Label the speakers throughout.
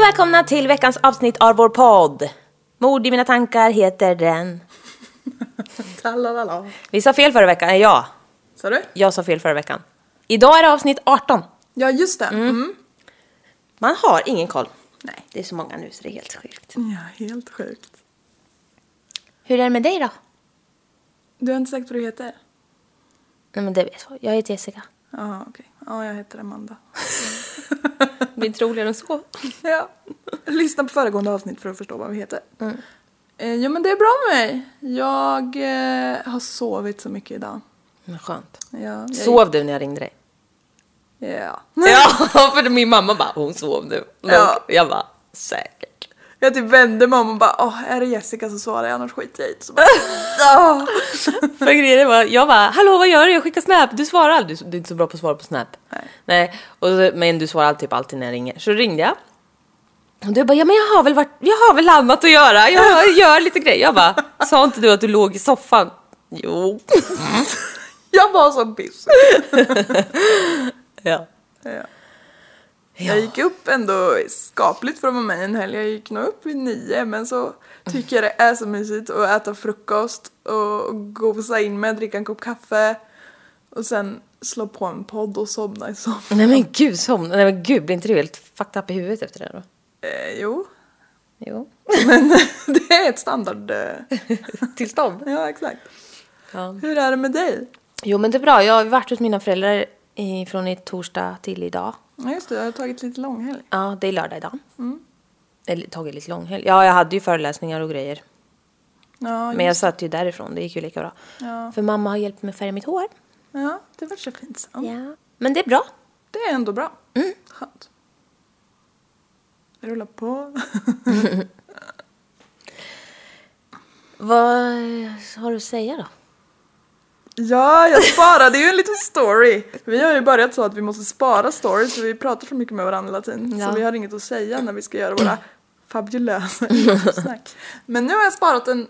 Speaker 1: välkomna till veckans avsnitt av vår podd. Mord i mina tankar heter den.
Speaker 2: Talalala.
Speaker 1: Vi sa fel förra veckan, eh, ja,
Speaker 2: Sa du?
Speaker 1: jag sa fel förra veckan. Idag är det avsnitt 18.
Speaker 2: Ja, just det. Mm.
Speaker 1: Man har ingen koll.
Speaker 2: Nej.
Speaker 1: Det är så många nu så det är helt sjukt.
Speaker 2: Ja, helt sjukt.
Speaker 1: Hur är det med dig då?
Speaker 2: Du har inte sagt vad du heter?
Speaker 1: Nej men det vet jag, jag heter Jessica.
Speaker 2: Ja, okej. Ja, jag heter Amanda.
Speaker 1: Det är roligare än så.
Speaker 2: ja. Lyssna på föregående avsnitt för att förstå vad vi heter. Eh, jo, men det är bra med mig. Jag eh, har sovit så mycket idag.
Speaker 1: Men skönt.
Speaker 2: Ja, jag,
Speaker 1: Sov du när jag ringde dig?
Speaker 2: Ja.
Speaker 1: Ja, för min mamma bara, hon sov nu.
Speaker 2: Ja.
Speaker 1: Jag bara, säkert.
Speaker 2: Jag typ vände mig om och bara åh, är det Jessica så svarar jag annars skiter jag i det." Så bara, "Åh."
Speaker 1: För grejen var, jag bara hallå vad gör du? Jag skickar snap, du svarar aldrig. Du är inte så bra på att svara på snap.
Speaker 2: Nej.
Speaker 1: och så, men du svarar typ alltid när jag ringer. Så ringde jag. Och du bara, ja men jag har väl varit, jag har väl annat att göra. Jag gör lite grejer. Jag bara, sa inte du att du låg i soffan? Jo.
Speaker 2: Jag var så piss.
Speaker 1: Ja.
Speaker 2: Ja. Jag gick upp ändå skapligt för att vara med i en helg. Jag gick nog upp vid nio men så tycker jag det är så mysigt att äta frukost och gosa in med, dricka en kopp kaffe och sen slå på en podd och somna i soffan.
Speaker 1: Nej men gud, somna. Nej men gud, blir inte du helt fucked up i huvudet efter det då?
Speaker 2: Eh, jo,
Speaker 1: Jo.
Speaker 2: det är ett standard... Eh,
Speaker 1: Tillstånd.
Speaker 2: ja, exakt.
Speaker 1: Ja.
Speaker 2: Hur är det med dig?
Speaker 1: Jo men det är bra, jag har varit hos mina föräldrar i, från i torsdag till idag.
Speaker 2: Ja, just det, jag har tagit lite långhelg.
Speaker 1: Ja, det är lördag idag. Eller tagit lite långhelg. Ja, jag hade ju föreläsningar och grejer.
Speaker 2: Ja,
Speaker 1: Men
Speaker 2: just,
Speaker 1: jag satt ju därifrån, det gick ju lika bra.
Speaker 2: Ja.
Speaker 1: För mamma har hjälpt mig färga mitt hår.
Speaker 2: ja det var så fint. Ja. Mm.
Speaker 1: Ja. Men det är bra.
Speaker 2: Det är ändå bra. Skönt. Rulla på.
Speaker 1: Vad har du att säga då?
Speaker 2: Ja, jag sparade ju en liten story. Vi har ju börjat så att vi måste spara stories för vi pratar så mycket med varandra hela tiden.
Speaker 1: Ja.
Speaker 2: Så vi har inget att säga när vi ska göra våra fabulösa snack. Men nu har jag sparat en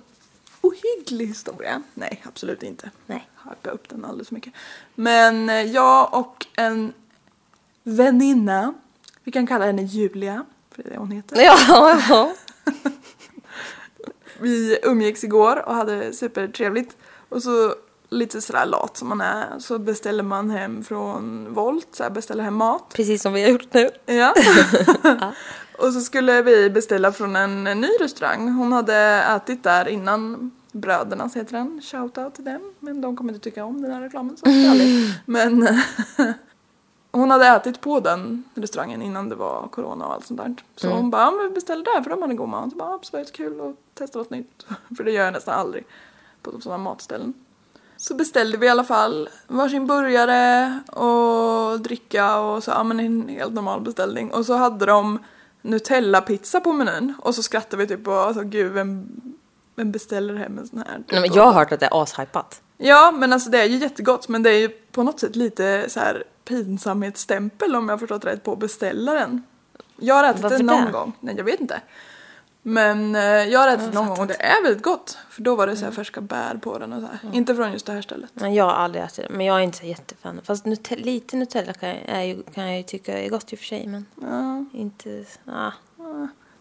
Speaker 2: ohygglig historia. Nej, absolut inte.
Speaker 1: Nej.
Speaker 2: Hacka upp den alldeles för mycket. Men eh, jag och en väninna, vi kan kalla henne Julia, för det är det hon heter.
Speaker 1: Ja, ja.
Speaker 2: Vi umgicks igår och hade supertrevligt. Och så lite sådär lat som man är så beställer man hem från Volt, så här beställer hem mat.
Speaker 1: Precis som vi har gjort nu.
Speaker 2: Ja. och så skulle vi beställa från en ny restaurang. Hon hade ätit där innan Brödernas heter den, shoutout till dem. Men de kommer inte tycka om den här reklamen så ärligt. Men eh, hon hade ätit på den restaurangen innan det var corona och allt sånt där. Så
Speaker 1: Mm.
Speaker 2: hon bara, ja, men vi beställde där för de hade god mat. Jag bara, absolut kul och testa något nytt. för det gör jag nästan aldrig på sådana matställen. Så beställde vi i alla fall varsin burgare och dricka och så, ja men en helt normal beställning. Och så hade de Nutella-pizza på menyn och så skrattade vi typ och alltså gud vem, vem beställer hem en sån här? Typ.
Speaker 1: Nej, men jag har hört att det är ashypat.
Speaker 2: Ja, men alltså det är ju jättegott men det är ju på något sätt lite så här pinsamhetsstämpel om jag har förstått rätt på beställaren. Jag har ätit det
Speaker 1: Varför
Speaker 2: någon
Speaker 1: det?
Speaker 2: gång, nej jag vet inte. Men eh, jag har ätit någon gång och det är väldigt gott. För då var det så
Speaker 1: Mm.
Speaker 2: här färska bär på den och så här. Inte från just det här stället.
Speaker 1: Men jag har aldrig ätit det. Men jag är inte så jättefan. Fast Nutella, lite Nutella kan jag, är ju, kan jag ju tycka är gott i och för sig. Men
Speaker 2: Ja,
Speaker 1: Mm. inte... Ah.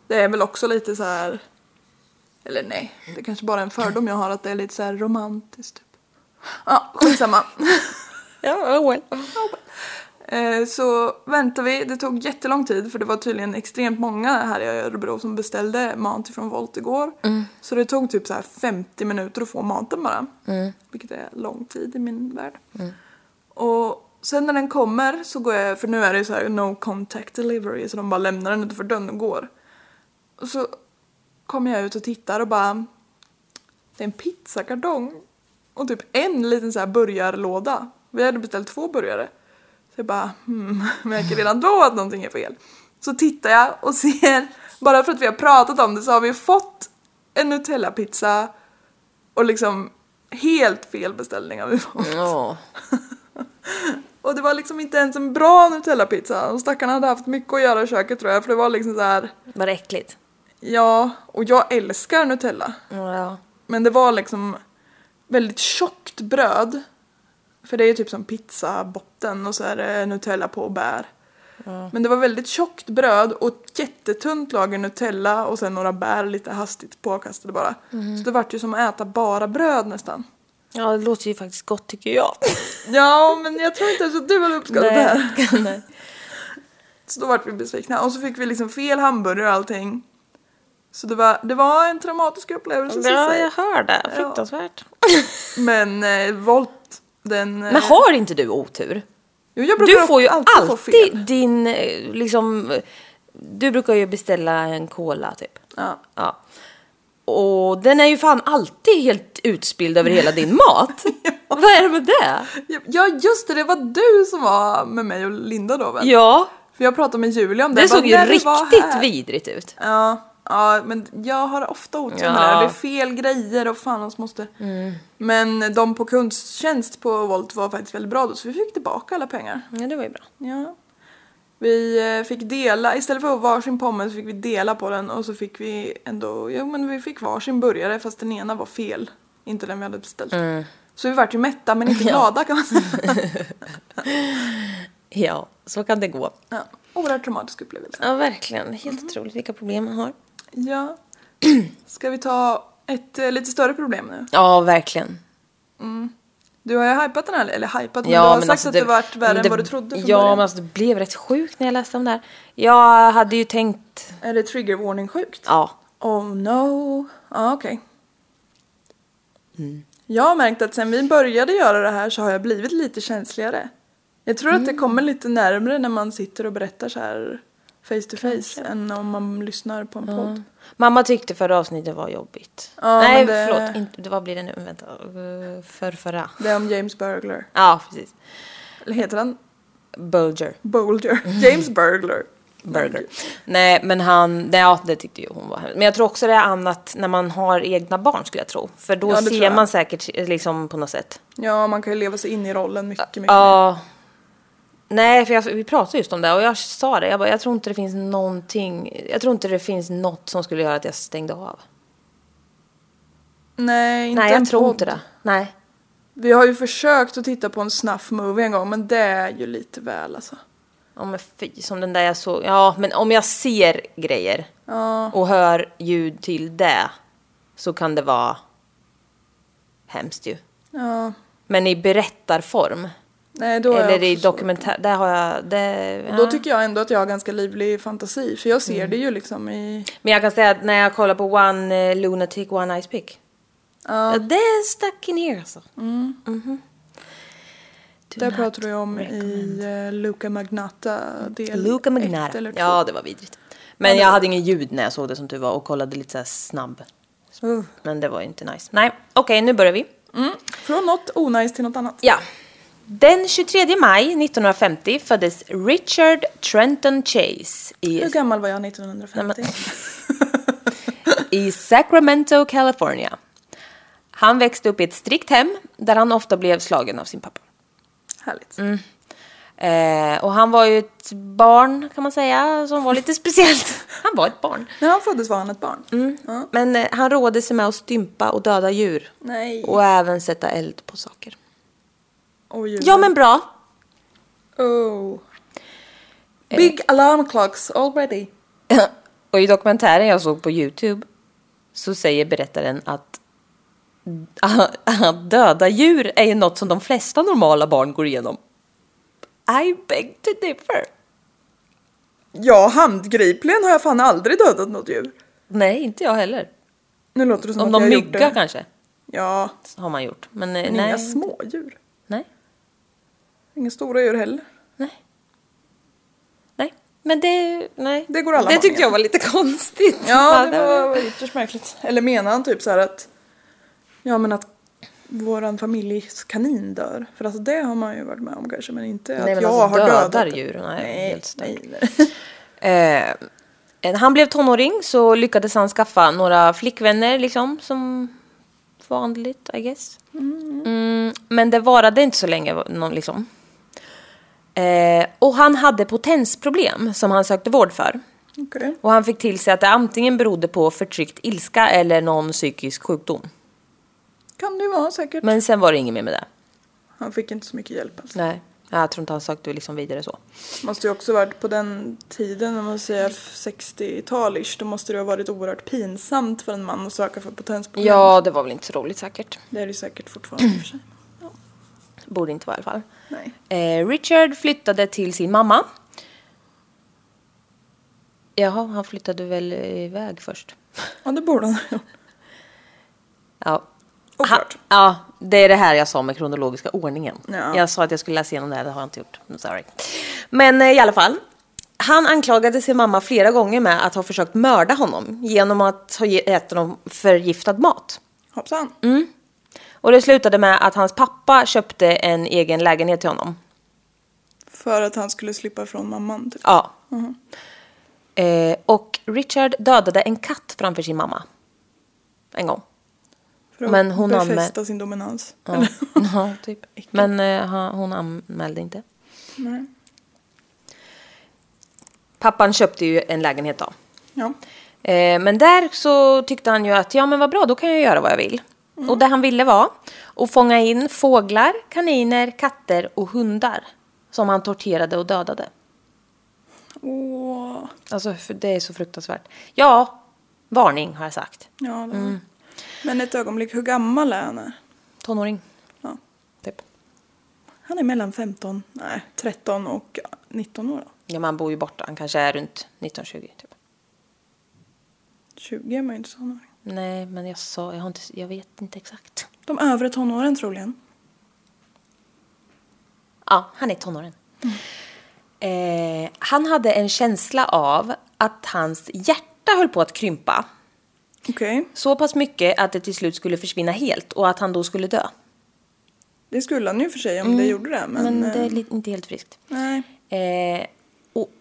Speaker 2: det är väl också lite så här. Eller nej, det är kanske bara är en fördom jag har att det är lite så här romantiskt. Typ. Ja, skitsamma.
Speaker 1: Ja, oh well.
Speaker 2: Eh, Så väntade vi, det tog jättelång tid för det var tydligen extremt många här i Örebro som beställde mat från Volt igår. Så det tog typ så här 50 minuter att få maten bara.
Speaker 1: Mm.
Speaker 2: Vilket är lång tid i min värld. Och sen när den kommer så går jag, för nu är det ju så här no contact delivery så de bara lämnar den utanför dörren och går. Och så kommer jag ut och tittar och bara det är en pizzakartong och typ en liten så här burgarlåda. Vi hade beställt två burgare. Så jag bara, hmm, märker redan då att någonting är fel. Så tittar jag och ser, bara för att vi har pratat om det så har vi fått en Nutella-pizza och liksom helt fel beställning har vi fått.
Speaker 1: Ja.
Speaker 2: Och det var liksom inte ens en bra Nutella-pizza. Och stackarna hade haft mycket att göra i köket tror jag för det var liksom så här,
Speaker 1: Var det äckligt?
Speaker 2: ja, och jag älskar Nutella.
Speaker 1: Ja.
Speaker 2: Men det var liksom väldigt tjockt bröd. För det är ju typ som pizzabotten och så är det Nutella på och bär. Men det var väldigt tjockt bröd och ett jättetunt lager Nutella och sen några bär lite hastigt påkastade bara. Så det vart ju som att äta bara bröd nästan.
Speaker 1: Ja, det låter ju faktiskt gott tycker jag.
Speaker 2: Ja, men jag tror inte ens att du hade uppskattat det här.
Speaker 1: Nej.
Speaker 2: Så då vart vi besvikna och så fick vi liksom fel hamburgare och allting. Så det var, det var en traumatisk upplevelse. så att
Speaker 1: Ja,
Speaker 2: säga.
Speaker 1: jag hör det. Fruktansvärt.
Speaker 2: Men eh, Volt, den... eh,
Speaker 1: Men har inte du otur?
Speaker 2: jo, jag brukar
Speaker 1: Du får ju
Speaker 2: alltid,
Speaker 1: alltid,
Speaker 2: få fel.
Speaker 1: din, eh, liksom... eh, Du brukar ju beställa en cola typ.
Speaker 2: Ja.
Speaker 1: Ja. Och den är ju fan alltid helt utspilld över hela din mat. Vad är det med det?
Speaker 2: ja, just det, det var du som var med mig och Linda då väl?
Speaker 1: Ja,
Speaker 2: För jag pratade med Julia om
Speaker 1: det
Speaker 2: det. Jag bara,
Speaker 1: såg ju
Speaker 2: när vi var här-
Speaker 1: riktigt vidrigt ut.
Speaker 2: Ja, ja, men jag har ofta otur med det
Speaker 1: Ja. Mm.
Speaker 2: här. Det är fel grejer och fan alltså måste... Men de på kundtjänst på Volt var faktiskt väldigt bra då så vi fick tillbaka alla pengar.
Speaker 1: Ja, det var ju bra.
Speaker 2: Ja. Vi eh, fick dela, istället för varsin pommes så fick vi dela på den och så fick vi ändå, jo men vi fick varsin burgare fast den ena var fel. Inte den vi hade beställt.
Speaker 1: Mm.
Speaker 2: Så vi vart ju mätta men inte glada kan man säga.
Speaker 1: Ja, så kan det gå. Mm.
Speaker 2: Ja. Oerhört traumatisk upplevelse.
Speaker 1: Ja, verkligen. Helt otroligt vilka problem man har.
Speaker 2: Ja. Ska vi ta ett eh, lite större problem nu?
Speaker 1: Ja, verkligen.
Speaker 2: Du har ju hypat den här, eller hypat, men
Speaker 1: Ja,
Speaker 2: du har
Speaker 1: men
Speaker 2: sagt
Speaker 1: alltså
Speaker 2: att det, vart värre än vad du trodde från
Speaker 1: Ja,
Speaker 2: början.
Speaker 1: men alltså det blev rätt sjukt när jag läste om det här. Jag hade ju tänkt,
Speaker 2: Är det trigger warning sjukt?
Speaker 1: ja,
Speaker 2: Oh no. Ja, okej.
Speaker 1: Mm.
Speaker 2: Jag har märkt att sen vi började göra det här så har jag blivit lite känsligare. Jag tror att det
Speaker 1: Mm.
Speaker 2: kommer lite närmre när man sitter och berättar så här face to face än om man lyssnar på en podd.
Speaker 1: Mamma tyckte förra avsnittet var jobbigt.
Speaker 2: Ja,
Speaker 1: Nej,
Speaker 2: men det-
Speaker 1: förlåt. Inte, det- vad blir det nu? Vänta. Eh, För förra.
Speaker 2: Det är om James Burglar.
Speaker 1: Ja, precis.
Speaker 2: Eller heter han
Speaker 1: Bulger.
Speaker 2: Boulder?
Speaker 1: Mm.
Speaker 2: James Burglar.
Speaker 1: Burger. Nej, men han... Nej, ja, det tyckte ju hon var hemskt. Men jag tror också det är annat när man har egna barn skulle jag tro. För då
Speaker 2: Ja, det tror
Speaker 1: ser
Speaker 2: jag.
Speaker 1: man säkert eh, liksom på något sätt.
Speaker 2: Ja, man kan ju leva sig in i rollen mycket, mycket mer.
Speaker 1: Ja. Nej, för jag, vi pratade just om det och jag sa det. Jag, bara, jag tror inte det finns någonting. Jag tror inte det finns något som skulle göra att jag stängde av.
Speaker 2: Nej, inte
Speaker 1: Nej, jag
Speaker 2: en
Speaker 1: tror
Speaker 2: podd.
Speaker 1: inte det. Nej.
Speaker 2: Vi har ju försökt att titta på en snuff movie en gång, men det är ju lite väl alltså.
Speaker 1: Ja men fy, som den där jag såg. Ja, men om jag ser grejer och hör ljud till det så kan det vara hemskt ju.
Speaker 2: Ja,
Speaker 1: Men i berättarform,
Speaker 2: nej då är jag
Speaker 1: eller i
Speaker 2: också så.
Speaker 1: dokumentär, där har jag... Det,
Speaker 2: Och då
Speaker 1: ja. Mm.
Speaker 2: tycker jag ändå att jag har ganska livlig fantasi, för jag ser det ju liksom i...
Speaker 1: Men jag kan säga att när jag kollar på One eh, Lunatic, One Ice Pick.
Speaker 2: Ja.
Speaker 1: Ja, det är stuck in here alltså. Mhm. Do
Speaker 2: Där
Speaker 1: not
Speaker 2: pratar du om
Speaker 1: recommend.
Speaker 2: i eh, Luca Magnata del
Speaker 1: Luca
Speaker 2: ett eller
Speaker 1: Magnara.
Speaker 2: två.
Speaker 1: Ja, det var vidrigt. Men jag hade ingen ljud när jag såg det som du var och kollade lite så här snabb. Men det var ju inte nice. Nej, okej, nu börjar vi.
Speaker 2: Mm. Från något onajs till något annat.
Speaker 1: Ja. Den 23 maj 1950 föddes Richard Trenton Chase i,
Speaker 2: Hur gammal var jag 1950?
Speaker 1: i Sacramento, California. Han växte upp i ett strikt hem där han ofta blev slagen av sin pappa.
Speaker 2: Härligt.
Speaker 1: Mm. Eh, och han var ju ett barn kan man säga som var lite speciellt. Han var ett barn.
Speaker 2: När han föddes var han ett barn. Ja.
Speaker 1: Men eh, han rådde sig med att stympa och döda djur.
Speaker 2: Nej.
Speaker 1: Och även sätta eld på saker.
Speaker 2: Och djuren.
Speaker 1: Ja men bra.
Speaker 2: Oh.
Speaker 1: Eh.
Speaker 2: Big alarm clocks already.
Speaker 1: Och i dokumentären jag såg på Youtube så säger berättaren att att döda djur är ju något som de flesta normala barn går igenom. I beg to differ.
Speaker 2: Ja, handgripligen har jag fan aldrig dödat något djur.
Speaker 1: Nej, inte jag heller.
Speaker 2: Nu låter det som
Speaker 1: Om
Speaker 2: att
Speaker 1: de
Speaker 2: jag gjort
Speaker 1: myggar
Speaker 2: det.
Speaker 1: kanske,
Speaker 2: Ja,
Speaker 1: har man gjort. Men eh,
Speaker 2: men
Speaker 1: nej.
Speaker 2: inga smådjur.
Speaker 1: Nej,
Speaker 2: Inga stora djur heller.
Speaker 1: nej. Nej, men det... Nej.
Speaker 2: Det går alla
Speaker 1: Det
Speaker 2: barn
Speaker 1: tyckte jag
Speaker 2: igenom.
Speaker 1: var lite konstigt.
Speaker 2: Ja, det var ytterst märkligt. Eller menar han typ så här att... Ja, men att våran familjs kanin dör. För alltså det har man ju varit med om kanske, men inte
Speaker 1: Nej,
Speaker 2: att
Speaker 1: men
Speaker 2: jag
Speaker 1: alltså,
Speaker 2: har
Speaker 1: dödar
Speaker 2: dödat... det.
Speaker 1: djur, nej,
Speaker 2: nej,
Speaker 1: helt
Speaker 2: nej,
Speaker 1: stört.
Speaker 2: nej.
Speaker 1: Eh, när han blev tonåring så lyckades han skaffa några flickvänner liksom som vanligt I guess. Mm, men det varade inte så länge någon, liksom. Eh, och han hade potensproblem som han sökte vård för.
Speaker 2: Okej.
Speaker 1: Och han fick till sig att det antingen berodde på förtryckt ilska eller någon psykisk sjukdom.
Speaker 2: Kan det ju vara säkert.
Speaker 1: Men sen var det inget mer med det.
Speaker 2: Han fick inte så mycket hjälp alltså.
Speaker 1: Nej. Jag tror inte han sökte liksom vidare så.
Speaker 2: Måste ju också varit på den tiden, om man säger 60-talish, då måste det ha varit oerhört pinsamt för en man att söka för potensprogram.
Speaker 1: Ja, det var väl inte så roligt säkert.
Speaker 2: Det är det ju säkert fortfarande i och för sig.
Speaker 1: Borde inte vara i alla fall.
Speaker 2: Nej.
Speaker 1: Eh, Richard flyttade till sin mamma. Jaha, han flyttade väl iväg först.
Speaker 2: Ja, det borde han ha gjort.
Speaker 1: Ja.
Speaker 2: Oklart.
Speaker 1: Ha- Ja, det är det här jag sa med kronologiska ordningen.
Speaker 2: Ja.
Speaker 1: Jag sa att jag skulle läsa igenom det här, det har jag inte gjort. I'm sorry. Men eh, i alla fall. Han anklagade sin mamma flera gånger med att ha försökt mörda honom genom att ha ge- ätit honom förgiftad mat.
Speaker 2: Hoppsan.
Speaker 1: Mm. Och det slutade med att hans pappa köpte en egen lägenhet till honom.
Speaker 2: För att han skulle slippa från mamman, typ.
Speaker 1: Ja. Eh, och Richard dödade en katt framför sin mamma. En gång.
Speaker 2: För att
Speaker 1: Men hon anmä-
Speaker 2: befästa sin dominans.
Speaker 1: Ja,
Speaker 2: Eller-
Speaker 1: ja typ. Men eh, han- hon anmälde inte.
Speaker 2: Nej.
Speaker 1: Pappan köpte ju en lägenhet då.
Speaker 2: Ja.
Speaker 1: Eh, men där så tyckte han ju att ja men vad bra, då kan jag göra vad jag vill.
Speaker 2: Mm.
Speaker 1: Och det han ville var att fånga in fåglar, kaniner, katter och hundar. Som han torterade och dödade.
Speaker 2: Åh.
Speaker 1: Alltså för det är så fruktansvärt. Ja, varning har jag sagt.
Speaker 2: Ja, det var-
Speaker 1: Mm.
Speaker 2: Men ett ögonblick, hur gammal är han?
Speaker 1: Tonåring,
Speaker 2: Ja.
Speaker 1: typ.
Speaker 2: Han är mellan 15, nej 13 och 19 år. då.
Speaker 1: Ja, man bor ju borta. Han kanske är runt 1920 typ.
Speaker 2: 20 är man ju inte tonåring.
Speaker 1: Nej, men jag sa, jag, har inte, jag vet inte exakt.
Speaker 2: De övre tonåren troligen.
Speaker 1: Ja, han är tonåren.
Speaker 2: Mm.
Speaker 1: Eh, han hade en känsla av att hans hjärta höll på att krympa.
Speaker 2: Okej,
Speaker 1: Så pass mycket att det till slut skulle försvinna helt och att han då skulle dö.
Speaker 2: det skulle han ju för sig om det gjorde det. Men,
Speaker 1: Mm. Men det är
Speaker 2: eh,
Speaker 1: li- inte helt friskt.
Speaker 2: Nej,
Speaker 1: Eh, och,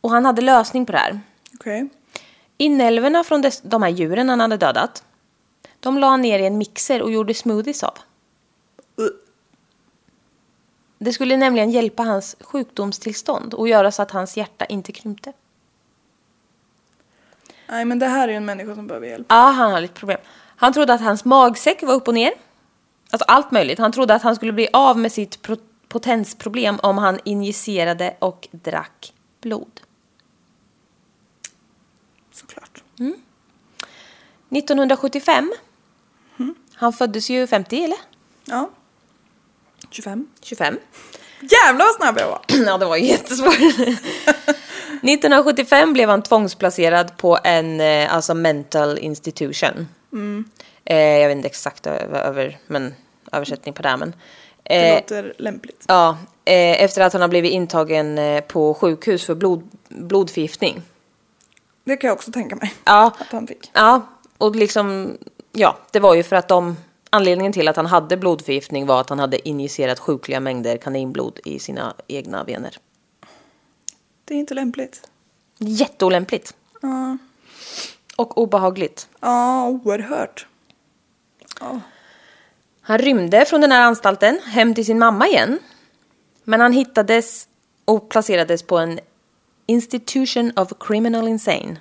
Speaker 1: och han hade lösning på det här.
Speaker 2: okej.
Speaker 1: Inälvorna från des, de här djuren han hade dödat, de la han ner i en mixer och gjorde smoothies av.
Speaker 2: Uh,
Speaker 1: Det skulle nämligen hjälpa hans sjukdomstillstånd och göra så att hans hjärta inte krympte.
Speaker 2: Nej, men det här är ju en människa som behöver hjälp.
Speaker 1: Ja, han har lite problem. Han trodde att hans magsäck var upp och ner. Alltså allt möjligt. Han trodde att han skulle bli av med sitt pro- potensproblem om han injicerade och drack blod.
Speaker 2: Såklart.
Speaker 1: 1975. Han föddes ju 50 eller?
Speaker 2: Ja. 25.
Speaker 1: 25.
Speaker 2: Jävlar vad snabb jag var!
Speaker 1: ja, det var ju jättesvårt. 1975 blev han tvångsplacerad på en eh, alltså mental institution. Eh, jag vet inte exakt över, över, men, översättning på det här. Men,
Speaker 2: Det
Speaker 1: eh,
Speaker 2: låter lämpligt.
Speaker 1: Ja, eh, efter att han har blivit intagen eh, på sjukhus för blod, blodförgiftning.
Speaker 2: Det kan jag också tänka mig
Speaker 1: Ja,
Speaker 2: att han fick.
Speaker 1: ja, och liksom, ja, det var ju för att de, anledningen till att han hade blodförgiftning var att han hade injicerat sjukliga mängder kaninblod i sina egna vener.
Speaker 2: Det är inte lämpligt.
Speaker 1: Jätteolämpligt
Speaker 2: Ja,
Speaker 1: och obehagligt.
Speaker 2: ja oerhört. Ja.
Speaker 1: Han rymde från den här anstalten hem till sin mamma igen. Men han hittades och placerades på en Institution of Criminal Insane.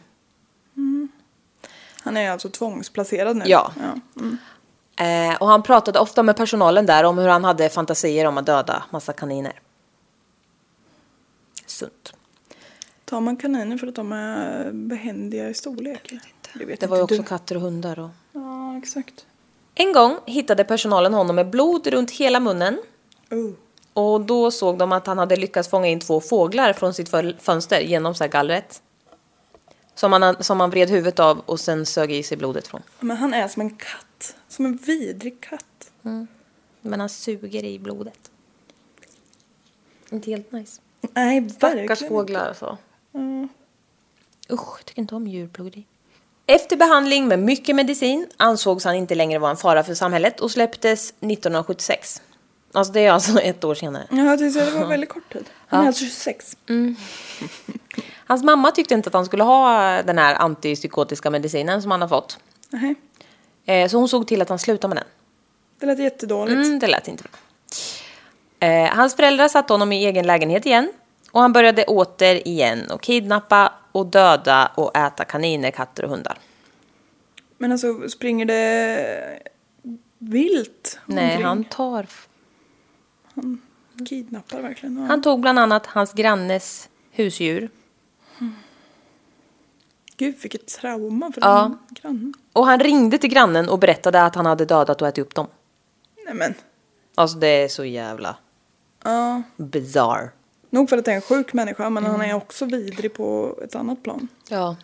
Speaker 2: Han är ju alltså tvångsplacerad nu.
Speaker 1: Ja.
Speaker 2: ja. mm.
Speaker 1: Eh, och han pratade ofta med personalen där om hur han hade fantasier om att döda massa kaniner. Sunt.
Speaker 2: Tar man kaniner för att de är behändiga i storlek? eller? Det vet
Speaker 1: Det var ju
Speaker 2: inte
Speaker 1: också
Speaker 2: du.
Speaker 1: katter och hundar och...
Speaker 2: Ja, exakt.
Speaker 1: En gång hittade personalen honom med blod runt hela munnen.
Speaker 2: Oh.
Speaker 1: Och då såg de att han hade lyckats fånga in två fåglar från sitt föl- fönster genom så här gallret. Som han, som han vred huvudet av och sen sög i sig blodet från.
Speaker 2: Men han är som en katt. Som en vidrig katt.
Speaker 1: Men han suger i blodet. Inte helt nice.
Speaker 2: Nej,
Speaker 1: Stackars
Speaker 2: verkligen.
Speaker 1: fåglar alltså.
Speaker 2: Ja.
Speaker 1: Usch, jag tycker inte om djurplågeri. Efter behandling med mycket medicin ansågs han inte längre vara en fara för samhället och släpptes 1976. Alltså det är alltså ett år senare.
Speaker 2: Ja, jag tyckte det var väldigt kort tid. Han är alltså 26.
Speaker 1: Hans mamma tyckte inte att han skulle ha den här antipsykotiska medicinen som han har fått.
Speaker 2: Nej,
Speaker 1: Eh, Så hon såg till att han slutade med den.
Speaker 2: det lät jättedåligt.
Speaker 1: Mm, det lät inte bra. Eh, hans föräldrar satte honom i egen lägenhet igen. Och han började återigen och kidnappa och döda och äta kaniner, katter och hundar.
Speaker 2: Men alltså, springer det vilt
Speaker 1: Nej,
Speaker 2: omkring?
Speaker 1: han tar... f-
Speaker 2: Kidnappar verkligen. Ja.
Speaker 1: Han tog bland annat hans grannes husdjur.
Speaker 2: Gud vilket trauma för
Speaker 1: Ja.
Speaker 2: den grannen.
Speaker 1: Och han ringde till grannen och berättade att han hade dödat och ätit upp dem.
Speaker 2: Nej men.
Speaker 1: Alltså det är så jävla
Speaker 2: Ja.
Speaker 1: bizarre.
Speaker 2: Nog för att det är en sjuk människa men han är också vidrig på ett annat plan.
Speaker 1: Ja.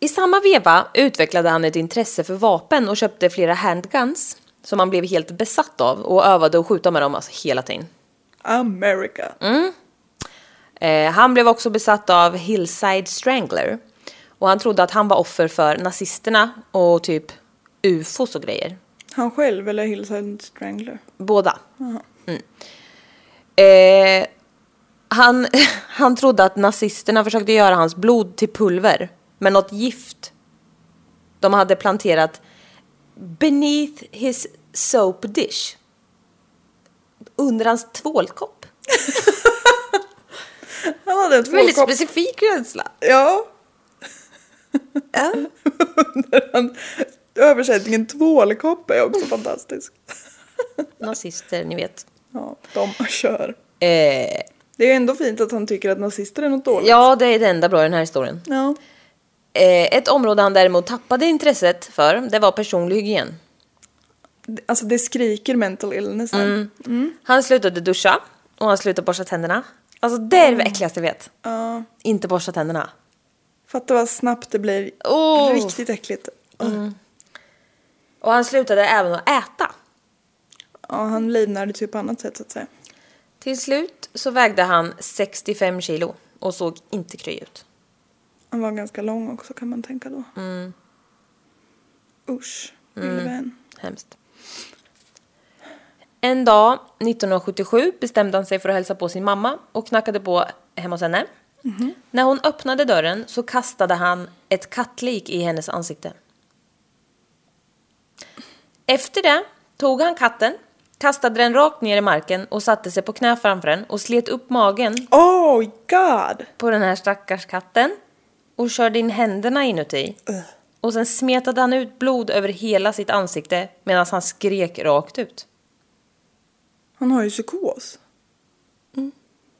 Speaker 1: I samma veva utvecklade han ett intresse för vapen och köpte flera handguns som han blev helt besatt av och övade att skjuta med dem alltså hela tiden.
Speaker 2: America.
Speaker 1: Eh, han blev också besatt av Hillside Strangler och han trodde att han var offer för nazisterna och typ ufos och grejer.
Speaker 2: Han själv eller Hillside Strangler.
Speaker 1: Båda. Mm. Eh, han, han trodde att nazisterna försökte göra hans blod till pulver med något gift de hade planterat beneath his soap dish. Under hans tvålkopp.
Speaker 2: Han hade ett
Speaker 1: Väldigt
Speaker 2: tvåkopp.
Speaker 1: specifik rädsla.
Speaker 2: Ja. Undrar han- Översättningen tvålkopp är också fantastisk.
Speaker 1: Nazister, ni vet.
Speaker 2: Ja, de kör.
Speaker 1: Eh,
Speaker 2: Det är ändå fint att han tycker att nazister är något dåligt.
Speaker 1: ja, det är det enda bra i den här historien.
Speaker 2: Ja.
Speaker 1: Eh, ett område han däremot tappade intresset för, det var personlig hygien.
Speaker 2: Alltså det skriker mental illness här.
Speaker 1: Mm. Han slutade duscha och han slutade borsta tänderna. Alltså det är det äckligaste jag vet.
Speaker 2: Ja.
Speaker 1: Inte borsta tänderna.
Speaker 2: Fatta vad snabbt det blir.
Speaker 1: Åh. Mm.
Speaker 2: Riktigt äckligt.
Speaker 1: Och han slutade även att äta.
Speaker 2: Ja, han livnär det typ på annat sätt så att säga.
Speaker 1: Till slut så vägde han 65 kilo och såg inte kry ut.
Speaker 2: Han var ganska lång också kan man tänka då.
Speaker 1: Mm.
Speaker 2: Usch, lille vän.
Speaker 1: Hemskt. En dag 1977 bestämde han sig för att hälsa på sin mamma och knackade på hemma hos henne. När hon öppnade dörren så kastade han ett kattlik i hennes ansikte. Efter det tog han katten, kastade den rakt ner i marken och satte sig på knä framför den och slet upp magen
Speaker 2: Oh god!
Speaker 1: på den här stackars katten och körde in händerna inuti.
Speaker 2: Ugh.
Speaker 1: Och sen smetade han ut blod över hela sitt ansikte medan han skrek rakt ut.
Speaker 2: Han har ju psykos.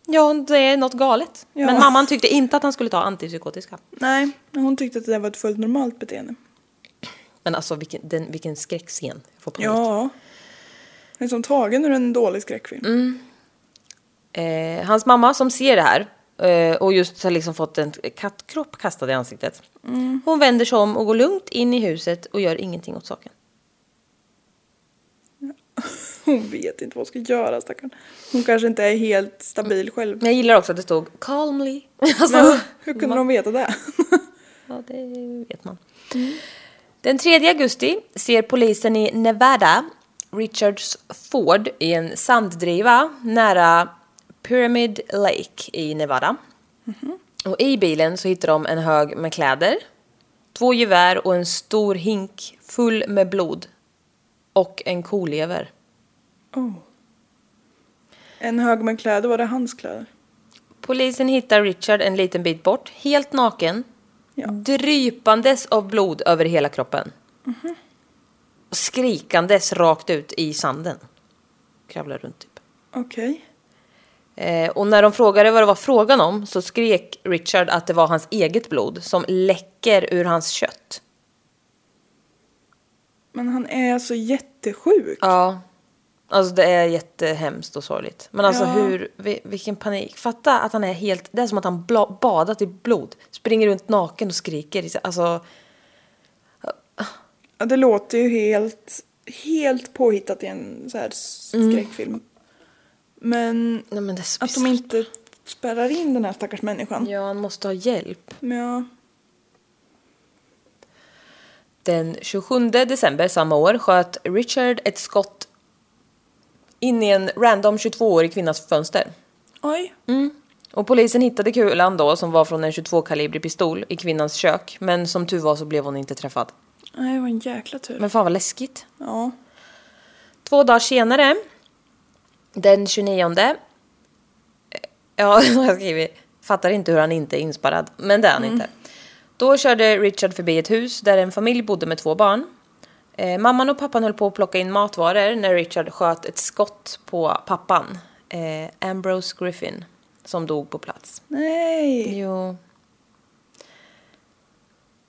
Speaker 1: Ja, det är något galet.
Speaker 2: Ja.
Speaker 1: Men mamman tyckte inte att han skulle ta antipsykotiska.
Speaker 2: Nej, hon tyckte att det där var ett fullt normalt beteende.
Speaker 1: Men alltså vilken, den, vilken skräckscen. Jag får panik.
Speaker 2: Ja. Det är som tagen ur en dålig skräckfilm.
Speaker 1: Mm. Eh, hans mamma som ser det här eh, och just har liksom fått en kattkropp kastad i ansiktet. Hon vänder sig om och går lugnt in i huset och gör ingenting åt saken.
Speaker 2: Hon vet inte vad hon ska göra stackarn. Hon kanske inte är helt stabil själv.
Speaker 1: Men jag gillar också att det stod calmly. Alltså,
Speaker 2: Men, hur kunde de veta det?
Speaker 1: Ja, det vet man. Den 3 augusti ser polisen i Nevada Richards Ford i en sanddriva nära Pyramid Lake i Nevada. Och i bilen så hittar de en hög med kläder, två gevär och en stor hink full med blod. Och en kolever.
Speaker 2: Oh. En hög med kläder, var det hans kläder?
Speaker 1: Polisen hittar Richard en liten bit bort, helt naken.
Speaker 2: Ja.
Speaker 1: Drypandes av blod över hela kroppen. Och skrikandes rakt ut i sanden. Kravlar runt typ.
Speaker 2: Okej.
Speaker 1: Eh, och när de frågade vad det var frågan om så skrek Richard att det var hans eget blod som läcker ur hans kött.
Speaker 2: Men han är alltså jättesjuk.
Speaker 1: Ja. Alltså det är jättehemskt och sorgligt. Men alltså
Speaker 2: Ja.
Speaker 1: hur, vi- vilken panik. Fatta att han är helt, det är som att han bla, badat i blod. Springer runt naken och skriker. Alltså,
Speaker 2: Ja, det låter ju helt, helt påhittat i en så här
Speaker 1: Mm.
Speaker 2: skräckfilm. Men
Speaker 1: nej men det är så
Speaker 2: att de
Speaker 1: bisarrt.
Speaker 2: inte spärrar in den här stackars människan.
Speaker 1: Ja, han måste ha hjälp.
Speaker 2: Men ja,
Speaker 1: Den 27 december samma år sköt Richard ett skott in i en random 22-årig kvinnas fönster.
Speaker 2: oj.
Speaker 1: Mm. Och polisen hittade kulan då som var från en 22-kalibrig pistol i kvinnans kök. Men som tur var så blev hon inte träffad.
Speaker 2: Nej, det var en jäkla tur.
Speaker 1: Men fan vad läskigt.
Speaker 2: Ja.
Speaker 1: Två dagar senare, den 29... eh, Ja, jag har skrivit. Fattar inte hur han inte är inspärrad, men det är han inte. Då körde Richard förbi ett hus där en familj bodde med två barn. Eh, mamman och pappan höll på att plocka in matvaror när Richard sköt ett skott på pappan, eh, Ambrose Griffin, som dog på plats.
Speaker 2: Nej!
Speaker 1: Jo.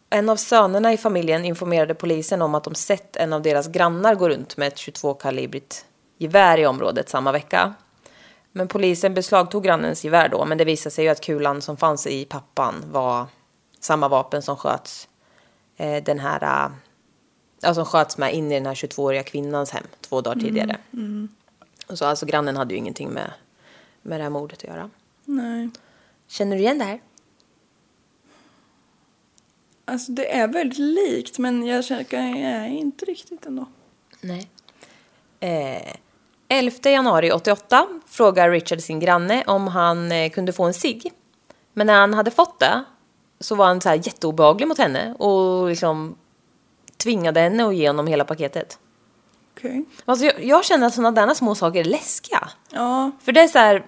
Speaker 1: En av sönerna i familjen informerade polisen om att de sett en av deras grannar gå runt med ett 22-kalibrigt gevär i området samma vecka. Men polisen beslagtog grannens gevär då, men det visade sig ju att kulan som fanns i pappan var samma vapen som sköts eh, den här, eh, ja, som sköts med in i den här 22-åriga kvinnans hem två dagar tidigare. Och så alltså grannen hade ju ingenting med, med det här mordet att göra.
Speaker 2: Nej.
Speaker 1: Känner du igen det här?
Speaker 2: Alltså det är väldigt likt men jag känner nej, inte riktigt ändå.
Speaker 1: Nej. Eh, 11 januari 88 frågar Richard sin granne om han eh, kunde få en cigg. Men när han hade fått det så var han så här jätteobehaglig mot henne och liksom tvingade henne att ge honom hela paketet.
Speaker 2: Okej.
Speaker 1: Alltså jag, jag känner att sådana där små saker är läskiga.
Speaker 2: Ja,
Speaker 1: För det är så här,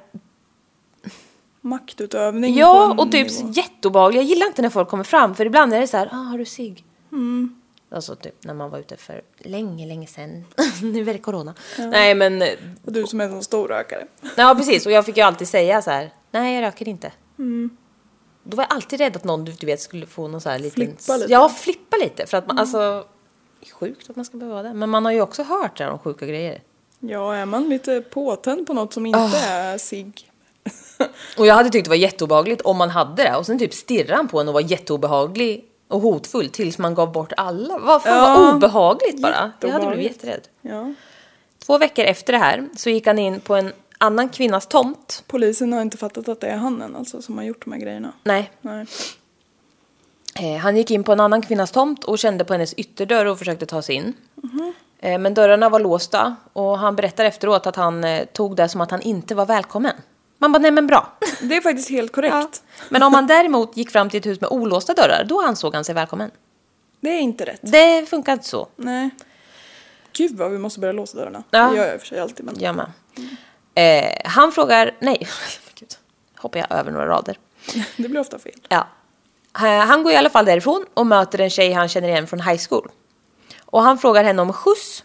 Speaker 2: maktutövning på
Speaker 1: ja
Speaker 2: en
Speaker 1: och typ
Speaker 2: nivå.
Speaker 1: jätteobehagligt. Jag gillar inte när folk kommer fram för ibland är det så här, ah, har du cigg?
Speaker 2: Mm.
Speaker 1: Alltså typ när man var ute för länge, länge sedan. nu är det corona. Nej men
Speaker 2: Och du som är en sån storrökare.
Speaker 1: Ja precis och jag fick ju alltid säga så här. nej jag röker inte.
Speaker 2: Mm.
Speaker 1: Då var jag alltid rädd att någon du du vet skulle få någon så här liten...
Speaker 2: Flippa lite. Mm.
Speaker 1: Ja, flippa lite. För att man, alltså, det är sjukt att man ska behöva det. Men man har ju också hört det här om sjuka grejer.
Speaker 2: Ja, är man lite påtänd på något som inte är sig.
Speaker 1: Och jag hade tyckt det var jätteobehagligt om man hade det. Och sen typ stirrade han på en och var jätteobehaglig och hotfull tills man gav bort alla. Vad fan,
Speaker 2: Ja.
Speaker 1: vad obehagligt bara. Jag hade blivit
Speaker 2: Jätteobehagligt.
Speaker 1: jätterädd.
Speaker 2: ja.
Speaker 1: Två veckor efter det här så gick han in på en annan kvinnas tomt.
Speaker 2: Polisen har inte fattat att det är han än alltså som har gjort de här grejerna.
Speaker 1: Nej,
Speaker 2: Nej.
Speaker 1: Eh, Han gick in på en annan kvinnas tomt och kände på hennes ytterdörr och försökte ta sig in. Eh, Men dörrarna var låsta och han berättar efteråt att han eh, tog det som att han inte var välkommen. Man bara, nej men bra.
Speaker 2: Det är faktiskt helt korrekt.
Speaker 1: Men om han däremot gick fram till ett hus med olåsta dörrar, då ansåg han sig välkommen.
Speaker 2: Det är inte rätt.
Speaker 1: Det funkar inte så.
Speaker 2: Nej. Gud vad vi måste börja låsa dörrarna.
Speaker 1: Ja.
Speaker 2: Det gör jag i och för sig alltid men.
Speaker 1: Jag med. Eh, han frågar, nej, gud, hoppar jag över några rader.
Speaker 2: Det blir ofta fel.
Speaker 1: Ja. Eh, Han går i alla fall därifrån och möter en tjej han känner igen från high school. Och han frågar henne om skjuts.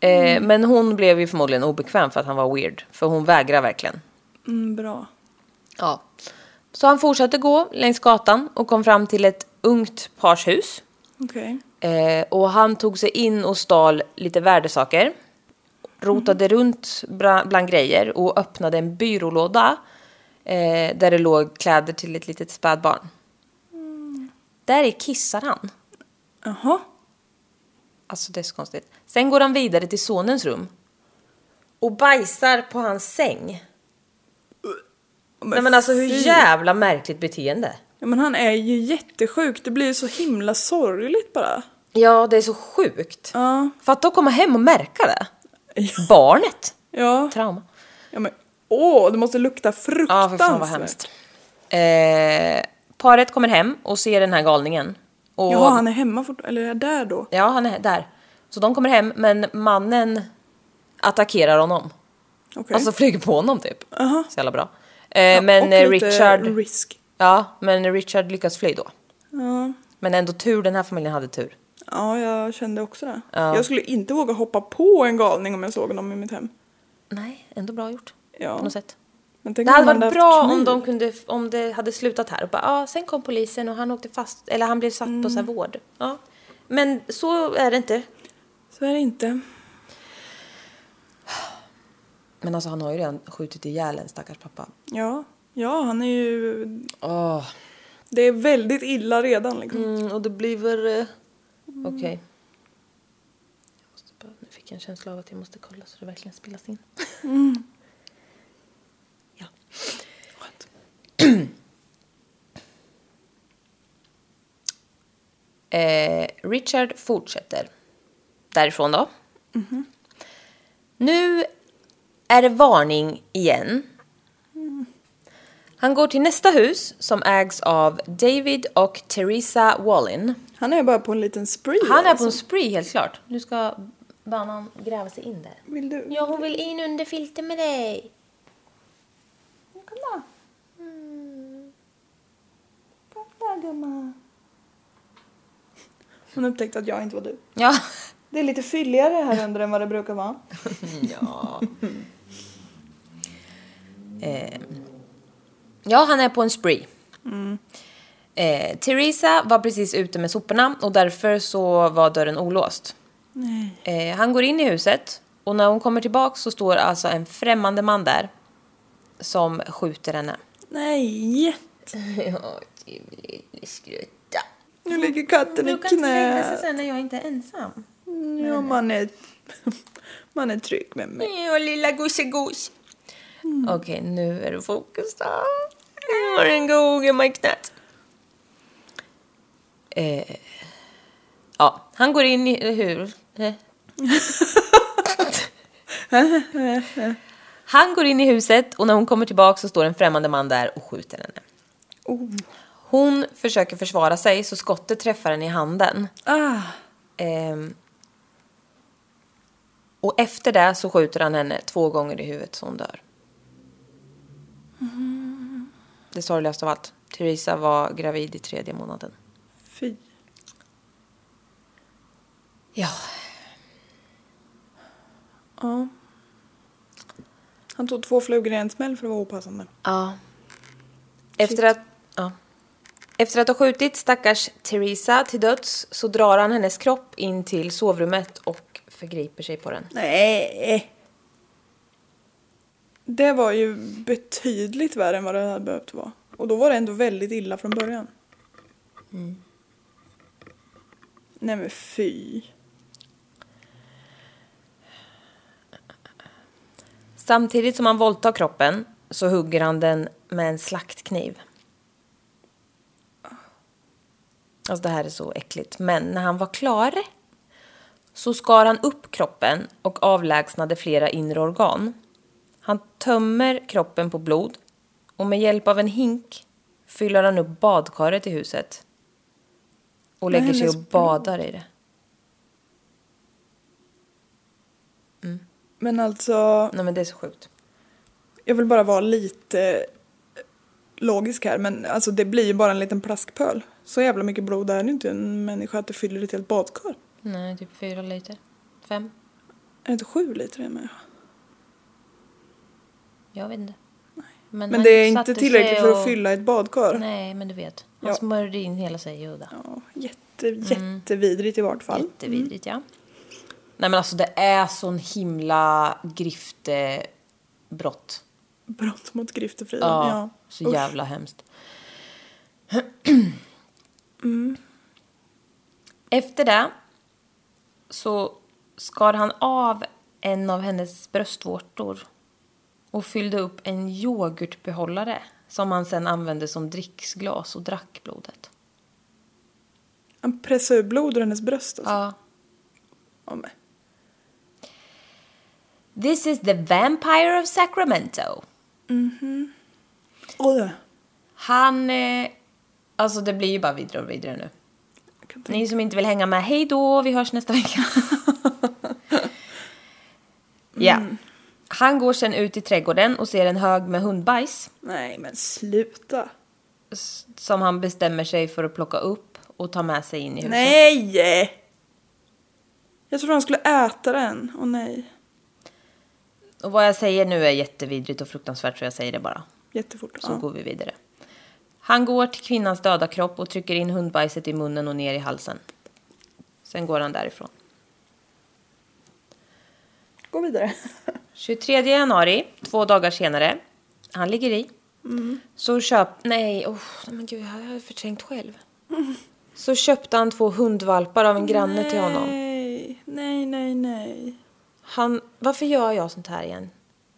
Speaker 1: Eh, Men hon blev ju förmodligen obekväm för att han var weird. För hon vägrar verkligen.
Speaker 2: Mm, bra.
Speaker 1: Ja. Så han fortsatte gå längs gatan och kom fram till ett ungt pars hus.
Speaker 2: Okej.
Speaker 1: Eh, och han tog sig in och stal lite värdesaker. Rotade
Speaker 2: Mhm.
Speaker 1: runt bra, bland grejer och öppnade en byrålåda. Eh, där det låg kläder till ett litet spädbarn.
Speaker 2: Mm.
Speaker 1: Där i kissar han.
Speaker 2: Jaha.
Speaker 1: Alltså det är så konstigt. Sen går han vidare till sonens rum. Och bajsar på hans säng. Nej men alltså hur
Speaker 2: fy.
Speaker 1: jävla märkligt beteende.
Speaker 2: Ja, men han är ju jättesjuk. Det blir ju så himla sorgligt bara.
Speaker 1: Ja det är så sjukt.
Speaker 2: Ja.
Speaker 1: Fatta att komma hem och märka det.
Speaker 2: Ja.
Speaker 1: Barnet.
Speaker 2: Ja.
Speaker 1: Trauma.
Speaker 2: ja men åh, det måste lukta
Speaker 1: Ja, för
Speaker 2: fruktansvärt.
Speaker 1: fan vad hemskt. Eh, paret kommer hem och ser den här galningen. Och,
Speaker 2: Jaha, han är hemma fortfarande. Eller är där då?
Speaker 1: Ja, han är där. Så de kommer hem, men mannen attackerar honom.
Speaker 2: Okej.
Speaker 1: Alltså flyger på honom typ.
Speaker 2: Aha.
Speaker 1: Så jävla bra. Eh, men
Speaker 2: Och
Speaker 1: eh,
Speaker 2: lite
Speaker 1: Richard...
Speaker 2: risk.
Speaker 1: Ja, men Richard lyckas fly då.
Speaker 2: Ja.
Speaker 1: Men ändå tur, den här familjen hade tur.
Speaker 2: ja, jag kände också det.
Speaker 1: Ja.
Speaker 2: Jag skulle inte våga hoppa på en galning om jag såg honom i mitt hem.
Speaker 1: Nej, ändå bra gjort.
Speaker 2: Ja.
Speaker 1: På något sätt.
Speaker 2: Men tänk
Speaker 1: Det
Speaker 2: om
Speaker 1: hade
Speaker 2: han
Speaker 1: varit
Speaker 2: haft
Speaker 1: bra om,
Speaker 2: kniv.
Speaker 1: de kunde, om det hade slutat här och bara, ja, sen kom polisen och han åkte fast, eller han blev satt på så här
Speaker 2: Mm.
Speaker 1: vård. Ja. Men så är det inte.
Speaker 2: Så är det inte.
Speaker 1: Men alltså han har ju redan skjutit ihjäl en stackars pappa.
Speaker 2: Ja. Ja, han är ju...
Speaker 1: Åh.
Speaker 2: Det är väldigt illa redan liksom.
Speaker 1: Mm, och det blir väl... eh, Okej. Jag måste bara- Nu fick jag en känsla av att jag måste kolla så det verkligen spelas in. ja.
Speaker 2: Skönt.
Speaker 1: Eh, Richard fortsätter. Därifrån då. Nu är det varning igen. Han går till nästa hus som ägs av David och Teresa Wallin.
Speaker 2: Han är bara på en liten spree.
Speaker 1: Mm. Han är på
Speaker 2: alltså.
Speaker 1: en spree helt klart. Nu ska banan gräva sig in där.
Speaker 2: Vill du?
Speaker 1: Ja, hon vill in under filter med dig.
Speaker 2: Kolla! Kolla gumman! Hon upptäckte att jag inte var du.
Speaker 1: Ja.
Speaker 2: Det är lite fylligare här under än vad det brukar vara.
Speaker 1: Ja. eh, ja, han är på en spree. Mm. Eh, Teresa var precis ute med soporna och därför så var dörren olåst.
Speaker 2: Nej.
Speaker 1: Eh, han går in i huset och när hon kommer tillbaka så står alltså en främmande man där som skjuter henne.
Speaker 2: Nej!
Speaker 1: Ja, du lille skrutta.
Speaker 2: Nu ligger katten i knät.
Speaker 1: sen när jag inte är ensam.
Speaker 2: Ja, man är... Man är trygg med mig.
Speaker 1: Ja, lilla gossegos. Okej, nu är du fokus då. Nu har du en god gumma i knät. Eh, ja, han går in i... Hur? Eh. han går in i huset och när hon kommer tillbaka så står en främmande man där och skjuter henne.
Speaker 2: Oh.
Speaker 1: Hon försöker försvara sig så skottet träffar henne i handen.
Speaker 2: Ah.
Speaker 1: Ehm. och efter det så skjuter han henne två gånger i huvudet så hon dör. Mm. Det sorgligaste av allt. Theresa var gravid i tredje månaden.
Speaker 2: Fy.
Speaker 1: Ja.
Speaker 2: Ja. Han tog två flugor i en smäll för att vara opassande.
Speaker 1: ja. Efter att... Ja. Efter att ha skjutit stackars Theresa till döds så drar han hennes kropp in till sovrummet och förgriper sig på den.
Speaker 2: Nej. Det var ju betydligt värre än vad det hade behövt vara. Och då var det ändå väldigt illa från början. Mm. Nej men fy.
Speaker 1: Samtidigt som han våldtar kroppen så hugger han den med en slaktkniv. Alltså det här är så äckligt. Men när han var klar så skar han upp kroppen och avlägsnade flera inre organ. Han tömmer kroppen på blod och med hjälp av en hink fyller han upp badkaret i huset. Och
Speaker 2: Med
Speaker 1: lägger sig och
Speaker 2: hennes blod.
Speaker 1: badar i det.
Speaker 2: Men alltså,
Speaker 1: Nej men det är så sjukt.
Speaker 2: jag vill bara vara lite eh, logisk här men alltså det blir ju bara en liten plaskpöl. Så jävla mycket blod är det inte i en människa att det fyller ett helt badkar.
Speaker 1: Nej, typ fyra liter. Fem?
Speaker 2: Är det inte sju liter i en människa?
Speaker 1: Jag vet inte.
Speaker 2: Men,
Speaker 1: han
Speaker 2: det är
Speaker 1: satte
Speaker 2: inte
Speaker 1: sig
Speaker 2: tillräckligt för
Speaker 1: och-
Speaker 2: att fylla ett badkar.
Speaker 1: Nej, men du vet. Han
Speaker 2: Ja.
Speaker 1: smörjde in hela sig i udda.
Speaker 2: Ja, jätte, jättevidrigt i vart fall. Mm.
Speaker 1: Jättevidrigt, Mm. ja. Nej, men alltså det är sån himla griftebrott.
Speaker 2: Brott mot griftefriden.
Speaker 1: Ja,
Speaker 2: ja.
Speaker 1: Så
Speaker 2: Usch.
Speaker 1: jävla hemskt.
Speaker 2: Mm.
Speaker 1: Efter det så skar han av en av hennes bröstvårtor och fyllde upp en yoghurtbehållare som han sen använde som dricksglas och drack blodet.
Speaker 2: Han pressade ur blod ur hennes bröst. Alltså.
Speaker 1: Ja.
Speaker 2: Ja. men.
Speaker 1: This is the vampire of Sacramento.
Speaker 2: Oj, jag
Speaker 1: Han... Eh, alltså det blir ju bara vidare och vidare nu.
Speaker 2: kan inte-
Speaker 1: Ni som inte vill hänga med, hej då, vi hörs nästa vecka. Ja.
Speaker 2: Mm.
Speaker 1: Han går sen ut i trädgården och ser en hög med hundbajs
Speaker 2: Nej men sluta.
Speaker 1: s- som han bestämmer sig för att plocka upp och ta med sig in i huset.
Speaker 2: Nej! Jag trodde han skulle äta den. Åh nej.
Speaker 1: Och vad jag säger nu är jättevidrigt och fruktansvärt så jag säger det bara.
Speaker 2: Jättefort.
Speaker 1: Så
Speaker 2: ja.
Speaker 1: går vi vidare. Han går till kvinnans döda kropp och trycker in hundbajset i munnen och ner i halsen. Sen går han därifrån.
Speaker 2: Gå vidare.
Speaker 1: 23 januari, två dagar senare. Han ligger i.
Speaker 2: Mm.
Speaker 1: Så köp... Nej, oh, men gud, jag har förträngt själv. Så köpte han två hundvalpar av en granne till honom.
Speaker 2: Nej, nej, nej, nej.
Speaker 1: Han, varför gör jag sånt här igen?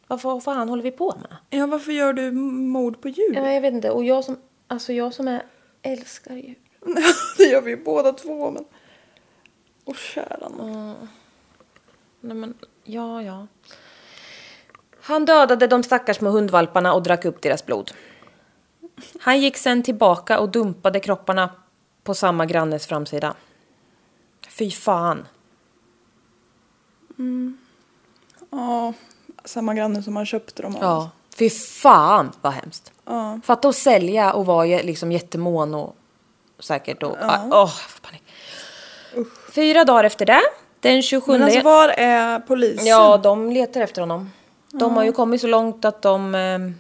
Speaker 1: Varför, vad fan håller vi på med?
Speaker 2: Ja, varför gör du mord på djur?
Speaker 1: Ja, jag vet inte. Och jag som, alltså jag som är, älskar djur.
Speaker 2: det gör vi ju båda två men... Åh kära nån.
Speaker 1: Mm. Nej, men, ja, ja. Han dödade de stackars med hundvalparna och drack upp deras blod. Han gick sen tillbaka och dumpade kropparna på samma grannes framsida. Fy fan.
Speaker 2: Ja, samma granne som han köpte dem av.
Speaker 1: Ja. Fy fan vad hemskt.
Speaker 2: Ja.
Speaker 1: Fatta att sälja och vara ju liksom jättemån Ah, och säkert och... Åh, jag får panik. Fyra dagar efter det, Den 27.
Speaker 2: Men alltså var är polisen?
Speaker 1: Ja, de letar efter honom. De har ju kommit så långt att de... ehm,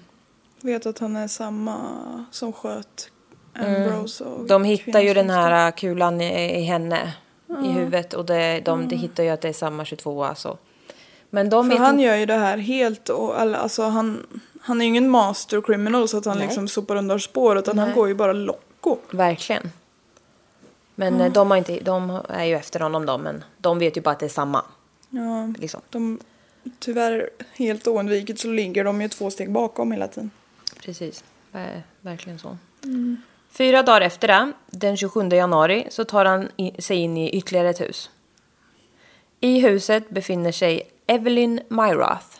Speaker 2: Vet att han är samma som sköt Ambrose och
Speaker 1: Mm. De hittar ju den
Speaker 2: kvinnan.
Speaker 1: här kulan i, i henne, i huvudet. Och det, de de hittar ju att det är samma 22 alltså. Men de
Speaker 2: För
Speaker 1: vet
Speaker 2: han
Speaker 1: inte...
Speaker 2: gör ju det här helt och alla, alltså han, han är ju ingen master criminal så att han
Speaker 1: Nej.
Speaker 2: liksom sopar undan spår utan han går ju bara locko.
Speaker 1: Verkligen. Men eh, de, har inte, de är ju efter honom då, men de vet ju bara att det är samma.
Speaker 2: Ja,
Speaker 1: Liksom.
Speaker 2: de, tyvärr helt oundvikligt så ligger de ju två steg bakom hela tiden.
Speaker 1: Precis, Ver- verkligen så. Fyra dagar efter det, den 27 januari, så tar han i, sig in i ytterligare ett hus. I huset befinner sig Evelyn Myrath.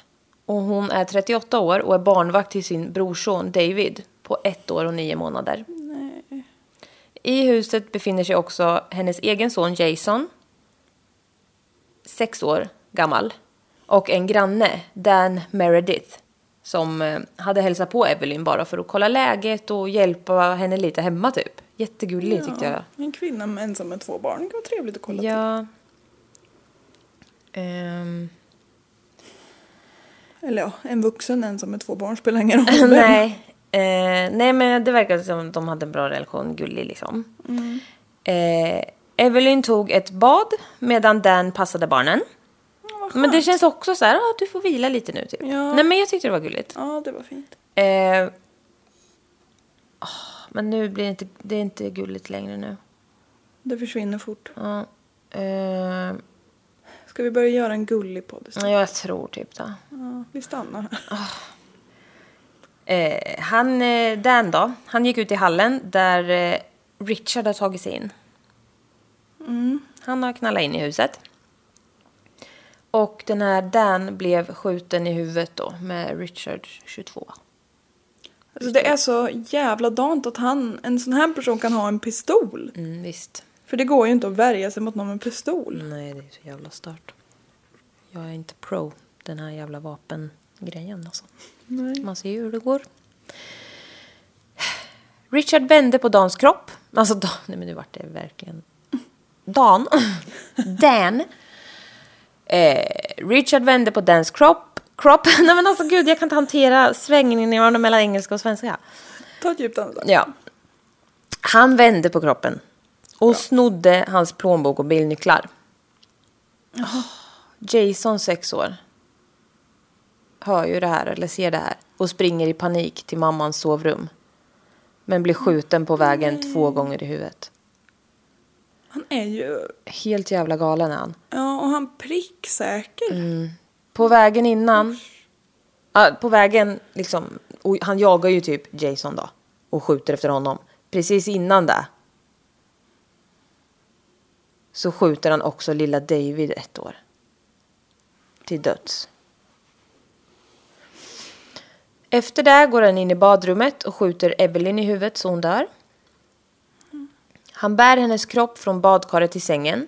Speaker 1: Och hon är 38 år och är barnvakt till sin brorson David på ett år och nio månader. I huset befinner sig också hennes egen son Jason, sex år gammal, och en granne, Dan Meredith, som eh, hade hälsat på Evelyn bara för att kolla läget och hjälpa henne lite hemma typ. Jättegullig tyckte jag.
Speaker 2: En kvinna med ensam med två barn, det kan vara trevligt att kolla till.
Speaker 1: Ja. Ehm,
Speaker 2: Eller ja, en vuxen ensam med två barn spelar ingen roll. vem.
Speaker 1: Alltså, nej. Eh, nej, men det verkar som de hade en bra relation, gullig liksom.
Speaker 2: Mm.
Speaker 1: Eh, Evelyn tog ett bad medan Dan passade barnen. men det känns också så här, ah, du får vila lite nu typ.
Speaker 2: Ja.
Speaker 1: Nej men jag tyckte det var gulligt.
Speaker 2: Ja, det var fint.
Speaker 1: Eh, ah, men nu blir det inte, det är inte gulligt längre nu.
Speaker 2: Det försvinner fort.
Speaker 1: Ja. Eh,
Speaker 2: Ska vi börja göra en gullig podd istället?
Speaker 1: jag tror typ det.
Speaker 2: Ja, vi stannar här.
Speaker 1: Eh, han, eh, Dan då, han gick ut i hallen där eh, Richard har tagit sig in.
Speaker 2: Mm.
Speaker 1: Han har knallat in i huset. Och den här Dan blev skjuten i huvudet då med Richard 22.
Speaker 2: Alltså, det är så jävla dant att han, en sån här person kan ha en pistol.
Speaker 1: Mm, visst.
Speaker 2: För det går ju inte att värja sig mot någon med pistol.
Speaker 1: Nej, det är så jävla stört. Jag är inte pro den här jävla vapengrejen alltså.
Speaker 2: Nej.
Speaker 1: Man ser ju hur det går. Richard vände på Dans kropp. Alltså, Dan, nej men nu vart det verkligen... Dan. Dan. Eh, Richard vände på Dans kropp. Kropp. Nej men alltså gud, jag kan inte hantera svängningarna mellan engelska och svenska.
Speaker 2: Ta ett djupt andetag.
Speaker 1: Ja. Han vände på kroppen och snodde hans plånbok och bilnycklar. Jason, sex år, hör ju det här eller ser det här och springer i panik till mammans sovrum. Men blir skjuten på vägen två gånger i huvudet.
Speaker 2: Han är ju...
Speaker 1: Helt jävla galen är han.
Speaker 2: Ja, och han pricksäker.
Speaker 1: På vägen innan... Ja, på vägen liksom... Och han jagar ju typ Jason då. Och skjuter efter honom. Precis innan det. Så skjuter han också lilla David ett år. Till döds. Efter det går han in i badrummet och skjuter Evelyn i huvudet så hon dör. Han bär hennes kropp från badkaret till sängen.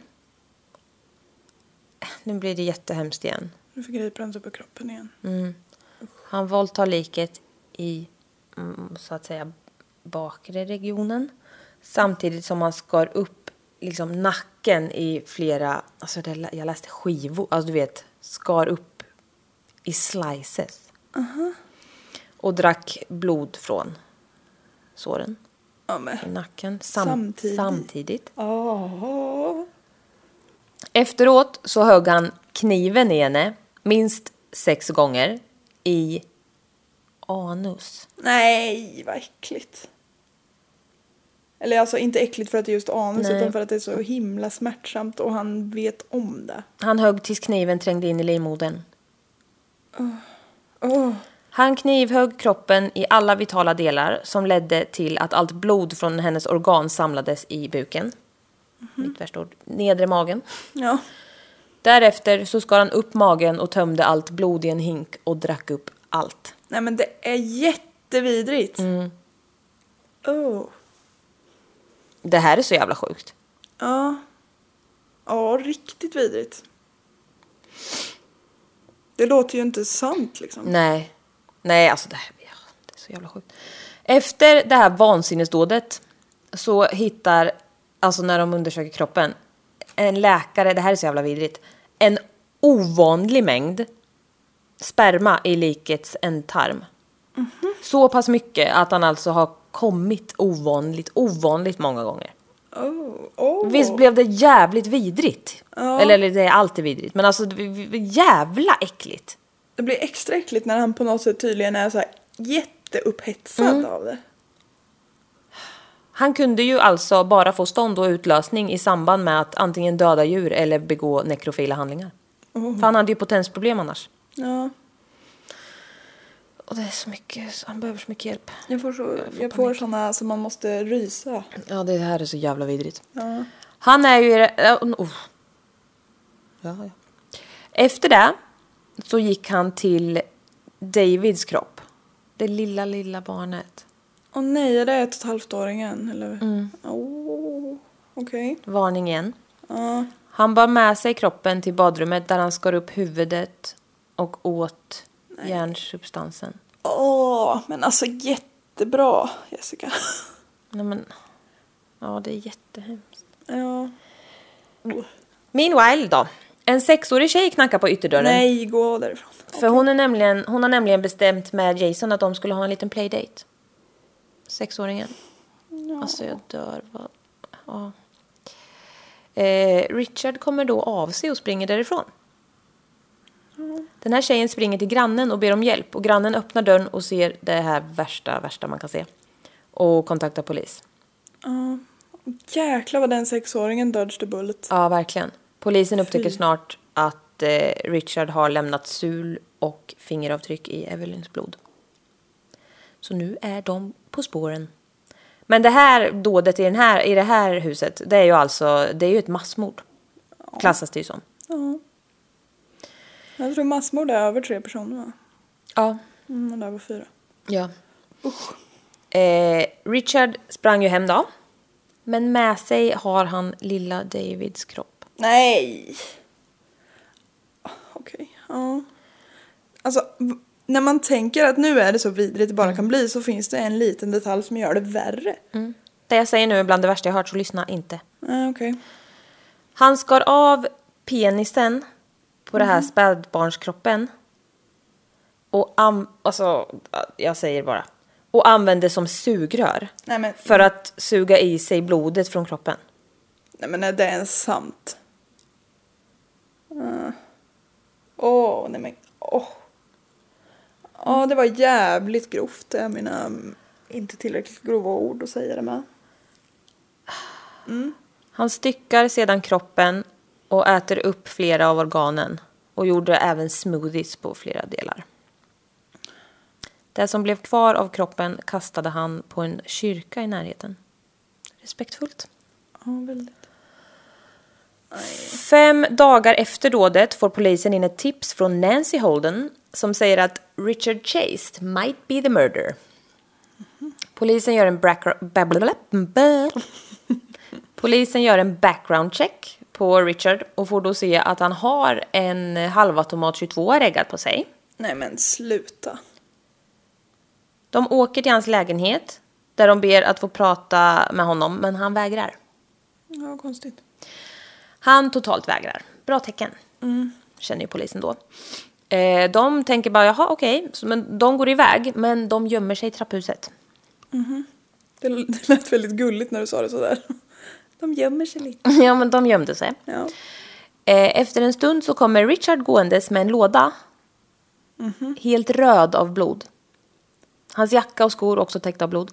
Speaker 1: Nu blir det jättehemskt igen.
Speaker 2: Nu förgriper han sig på kroppen igen.
Speaker 1: Han våldtar liket i, mm, så att säga, bakre regionen. Samtidigt som han skar upp liksom, nacken i flera, alltså det, jag läste skivor, alltså du vet, skar upp i slices. Och drack blod från såren
Speaker 2: Ja, men...
Speaker 1: i nacken sam-
Speaker 2: Samtidigt.
Speaker 1: samtidigt.
Speaker 2: Åh.
Speaker 1: Efteråt så högg han kniven i henne minst sex gånger i anus.
Speaker 2: Nej, vad äckligt. Eller alltså inte äckligt för att det är just anus
Speaker 1: Nej.
Speaker 2: utan för att det är så himla smärtsamt och han vet om det.
Speaker 1: Han högg tills kniven trängde in i livmodern.
Speaker 2: Åh.
Speaker 1: Han knivhögg kroppen i alla vitala delar som ledde till att allt blod från hennes organ samlades i buken. Mitt värsta ord. Nedre magen.
Speaker 2: Ja.
Speaker 1: Därefter så skar han upp magen och tömde allt blod i en hink och drack upp allt.
Speaker 2: Nej men det är jättevidrigt. Mm. Oh.
Speaker 1: Det här är så jävla sjukt.
Speaker 2: Ja. Ja, riktigt vidrigt. Det låter ju inte sant liksom.
Speaker 1: Nej. Nej, alltså det, här, ja, det är så jävla sjukt. Efter det här vansinnesdådet så hittar, alltså när de undersöker kroppen, en läkare, det här är så jävla vidrigt, en ovanlig mängd sperma i likets ändtarm. Så pass mycket att han alltså har kommit ovanligt, ovanligt många gånger.
Speaker 2: Oh, oh.
Speaker 1: Visst blev det jävligt vidrigt? Eller, eller det är alltid vidrigt, men alltså det- det- det- jävla äckligt.
Speaker 2: Det blir extra äckligt när han på något sätt tydligen är så här jätteupphetsad av det.
Speaker 1: Han kunde ju alltså bara få stånd och utlösning i samband med att antingen döda djur eller begå nekrofila handlingar. För han hade ju potensproblem annars.
Speaker 2: Ja,
Speaker 1: Och det är så mycket, så han behöver så mycket hjälp.
Speaker 2: jag får, så, jag får såna som man måste rysa.
Speaker 1: Ja, det här är så jävla vidrigt.
Speaker 2: Ja.
Speaker 1: Han är ju... äh, Oh. Ja, ja. Efter det så gick han till Davids kropp. Det lilla, lilla barnet.
Speaker 2: Åh nej, är det ett och ett halvt-åringen? Eller? Mm. Oh, Okej.
Speaker 1: Varning igen.
Speaker 2: Ja.
Speaker 1: Han bar med sig kroppen till badrummet där han skar upp huvudet och åt järnsubstansen.
Speaker 2: Åh, men alltså jättebra Jessica.
Speaker 1: Nej men... Ja, det är jättehemskt.
Speaker 2: ja.
Speaker 1: Meanwhile då. En sexårig tjej knackar på ytterdörren.
Speaker 2: Nej, gå därifrån.
Speaker 1: För hon, är nämligen, hon har nämligen bestämt med Jason att de skulle ha en liten playdate. Sexåringen. Alltså jag dör. Vad... Ja. Eh, Richard kommer då av sig och springer därifrån. Den här tjejen springer till grannen och ber om hjälp. Och grannen öppnar dörren och ser det här värsta, värsta man kan se. Och kontaktar polis.
Speaker 2: Ja. Jäklar vad den sexåringen dodged the bullet.
Speaker 1: Ja, verkligen. Polisen upptäcker snart att eh, Richard har lämnat sul och fingeravtryck i Evelyns blod. Så nu är de på spåren. Men det här dådet i, den här, i det här huset, det är ju alltså det är ju ett massmord. Klassas det ju som.
Speaker 2: Ja. Jag tror massmord är över tre personer va?
Speaker 1: Ja.
Speaker 2: Mm, och där var fyra.
Speaker 1: ja. Eh, Richard sprang ju hem då. Men med sig har han lilla Davids kropp.
Speaker 2: Nej! Okej, ja. Alltså, v- när man tänker att nu är det så vidrigt det bara kan bli så finns det en liten detalj som gör det värre.
Speaker 1: Det jag säger nu är bland det värsta jag hört, så lyssna inte.
Speaker 2: Ja, okej.
Speaker 1: Han skar av penisen på det här spädbarnskroppen. Och am- alltså, jag säger bara. Och använde som sugrör.
Speaker 2: Nej, men-
Speaker 1: För att suga i sig blodet från kroppen.
Speaker 2: Nej men är det ens sant? Mm. Åh, nej men åh. Ja, det var jävligt grovt. Det är mina mm, inte tillräckligt grova ord att säga det med.
Speaker 1: Han styckar sedan kroppen och äter upp flera av organen. Och gjorde även smoothies på flera delar. Det som blev kvar av kroppen kastade han på en kyrka i närheten. Respektfullt.
Speaker 2: Ja, väldigt.
Speaker 1: Fem dagar efter dådet får polisen in ett tips från Nancy Holden som säger att Richard Chase might be the murderer. Polisen gör en, brackra- blablabla- bä- polisen gör en background check på Richard och får då se att han har en halvautomat 22 reggad på sig.
Speaker 2: Nej men sluta.
Speaker 1: De åker till hans lägenhet där de ber att få prata med honom men han vägrar.
Speaker 2: Ja, konstigt.
Speaker 1: Han totalt vägrar. Bra tecken. Känner ju polisen då. Eh, de tänker bara, jaha okej. Så, Men de går iväg, men de gömmer sig i trapphuset.
Speaker 2: Det, l- det lät väldigt gulligt när du sa det sådär. De gömmer sig lite.
Speaker 1: ja, men de gömde sig.
Speaker 2: Ja.
Speaker 1: Eh, efter en stund så kommer Richard gåendes med en låda. Helt röd av blod. Hans jacka och skor också täckta av blod.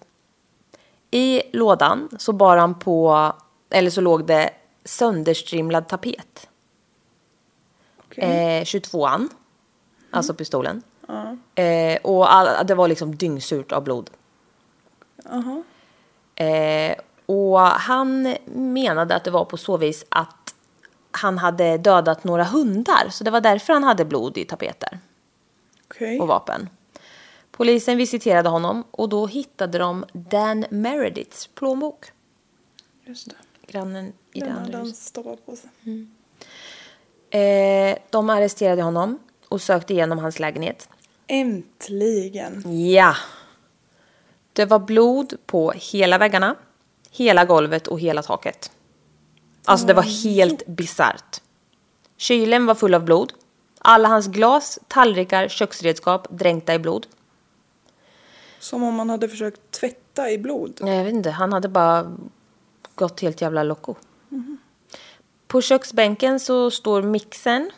Speaker 1: I lådan så bar han på, eller så låg det sönderstrimlad tapet.
Speaker 2: Okej.
Speaker 1: eh, 22an. Alltså pistolen. Eh, och all, det var liksom dyngsurt av blod.
Speaker 2: Jaha.
Speaker 1: Eh, och han menade att det var på så vis att han hade dödat några hundar. Så det var därför han hade blod i tapeter
Speaker 2: Okej.
Speaker 1: och vapen. Polisen visiterade honom och då hittade de Dan Merediths plånbok.
Speaker 2: Just det.
Speaker 1: Grannen i det
Speaker 2: Den
Speaker 1: andra
Speaker 2: hade han
Speaker 1: huset.
Speaker 2: stoppat på sig.
Speaker 1: Eh, de arresterade honom och sökte igenom hans lägenhet.
Speaker 2: Äntligen.
Speaker 1: Ja. Det var blod på hela väggarna, hela golvet och hela taket. Alltså det var helt bisarrt. Kylen var full av blod. Alla hans glas, tallrikar, köksredskap dränkta i blod.
Speaker 2: Som om man hade försökt tvätta i blod.
Speaker 1: Nej, jag vet inte. Han hade bara gått helt jävla loco. På köksbänken så står mixen.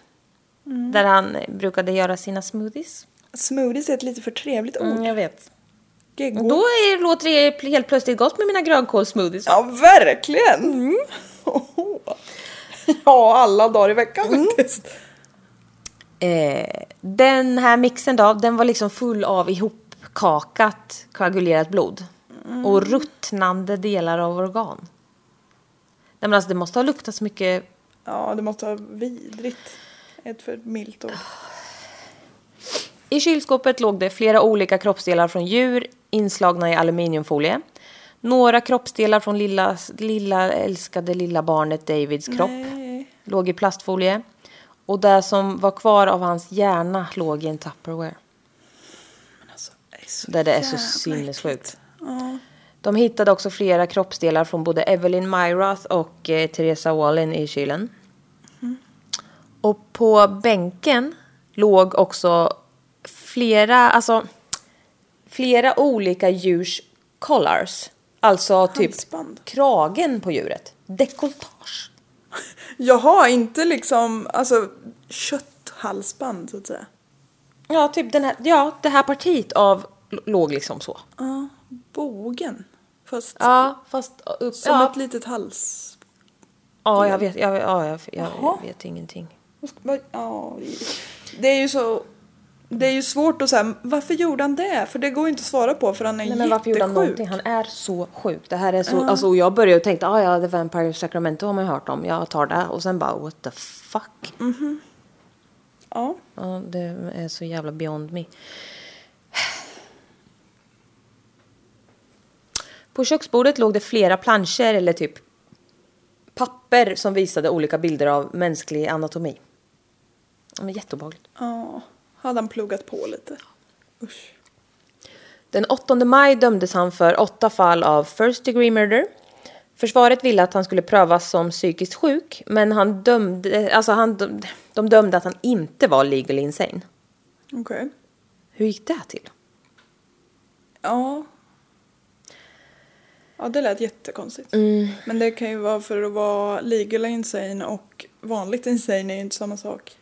Speaker 1: Där han brukade göra sina smoothies.
Speaker 2: Smoothies är ett lite för trevligt ord.
Speaker 1: Mm, jag vet.
Speaker 2: Geggo.
Speaker 1: Då är, låter det helt plötsligt gott med mina grönkålssmoothies.
Speaker 2: Ja, verkligen!
Speaker 1: Mm.
Speaker 2: Oho. ja, alla dagar i veckan
Speaker 1: Mm.
Speaker 2: faktiskt.
Speaker 1: Eh, den här mixen då, den var liksom full av ihopkakat koagulerat blod.
Speaker 2: Mm.
Speaker 1: Och ruttnande delar av organ. Nej men alltså det måste ha luktat så mycket.
Speaker 2: Ja, det måste vara vidrigt. Ett för milt ord.
Speaker 1: I kylskåpet låg det flera olika kroppsdelar från djur inslagna i aluminiumfolie. Några kroppsdelar från lilla, lilla älskade lilla barnet Davids kropp
Speaker 2: Nej.
Speaker 1: låg i plastfolie. Och det som var kvar av hans hjärna låg i en Tupperware.
Speaker 2: Men alltså, det är så
Speaker 1: Där det är så
Speaker 2: jävla
Speaker 1: sinnessjukt.
Speaker 2: äckligt. Ja.
Speaker 1: De hittade också flera kroppsdelar från både Evelyn Myrath och eh, Teresa Wallin i kylen. Mm. Och på bänken låg också flera, alltså, flera olika djurs collars. Alltså typ
Speaker 2: Halsband.
Speaker 1: kragen på djuret. Dekoltage.
Speaker 2: Jaha, inte liksom alltså, kötthalsband så att säga.
Speaker 1: Ja, typ den här, ja, det här partiet av l- låg liksom så.
Speaker 2: Ja, bogen. Fast
Speaker 1: Ja, fast upp,
Speaker 2: som
Speaker 1: ja,
Speaker 2: ett litet hals...
Speaker 1: ja, jag vet, ja, ja, jag, jag,
Speaker 2: Jaha.
Speaker 1: jag vet ingenting.
Speaker 2: Vad- Ja, det är ju så... Det är ju svårt att säga, varför gjorde han det? För det går ju inte att svara på för han är
Speaker 1: Nej,
Speaker 2: jättesjuk.
Speaker 1: men varför gjorde han någonting? Han är så sjuk. Det här är så, alltså, och jag började och tänkte, ah, ja, The Vampire Sacramento har man ju hört om, jag tar det. Och sen bara, what the fuck?
Speaker 2: Ja.
Speaker 1: Ja, det är så jävla beyond me. På köksbordet låg det flera planscher eller typ papper som visade olika bilder av mänsklig anatomi. Ja, men jätteobehagligt.
Speaker 2: ja. Hade han pluggat på lite? Usch.
Speaker 1: Den 8 maj dömdes han för åtta fall av first degree murder. Försvaret ville att han skulle prövas som psykiskt sjuk, men han dömde, alltså han, dömde- de dömde att han inte var legal insane.
Speaker 2: Okej.
Speaker 1: Hur gick det till?
Speaker 2: Ja. Ja, det lät jättekonstigt.
Speaker 1: Mm.
Speaker 2: Men det kan ju vara för att vara legal insane och vanligt insane är ju inte samma sak.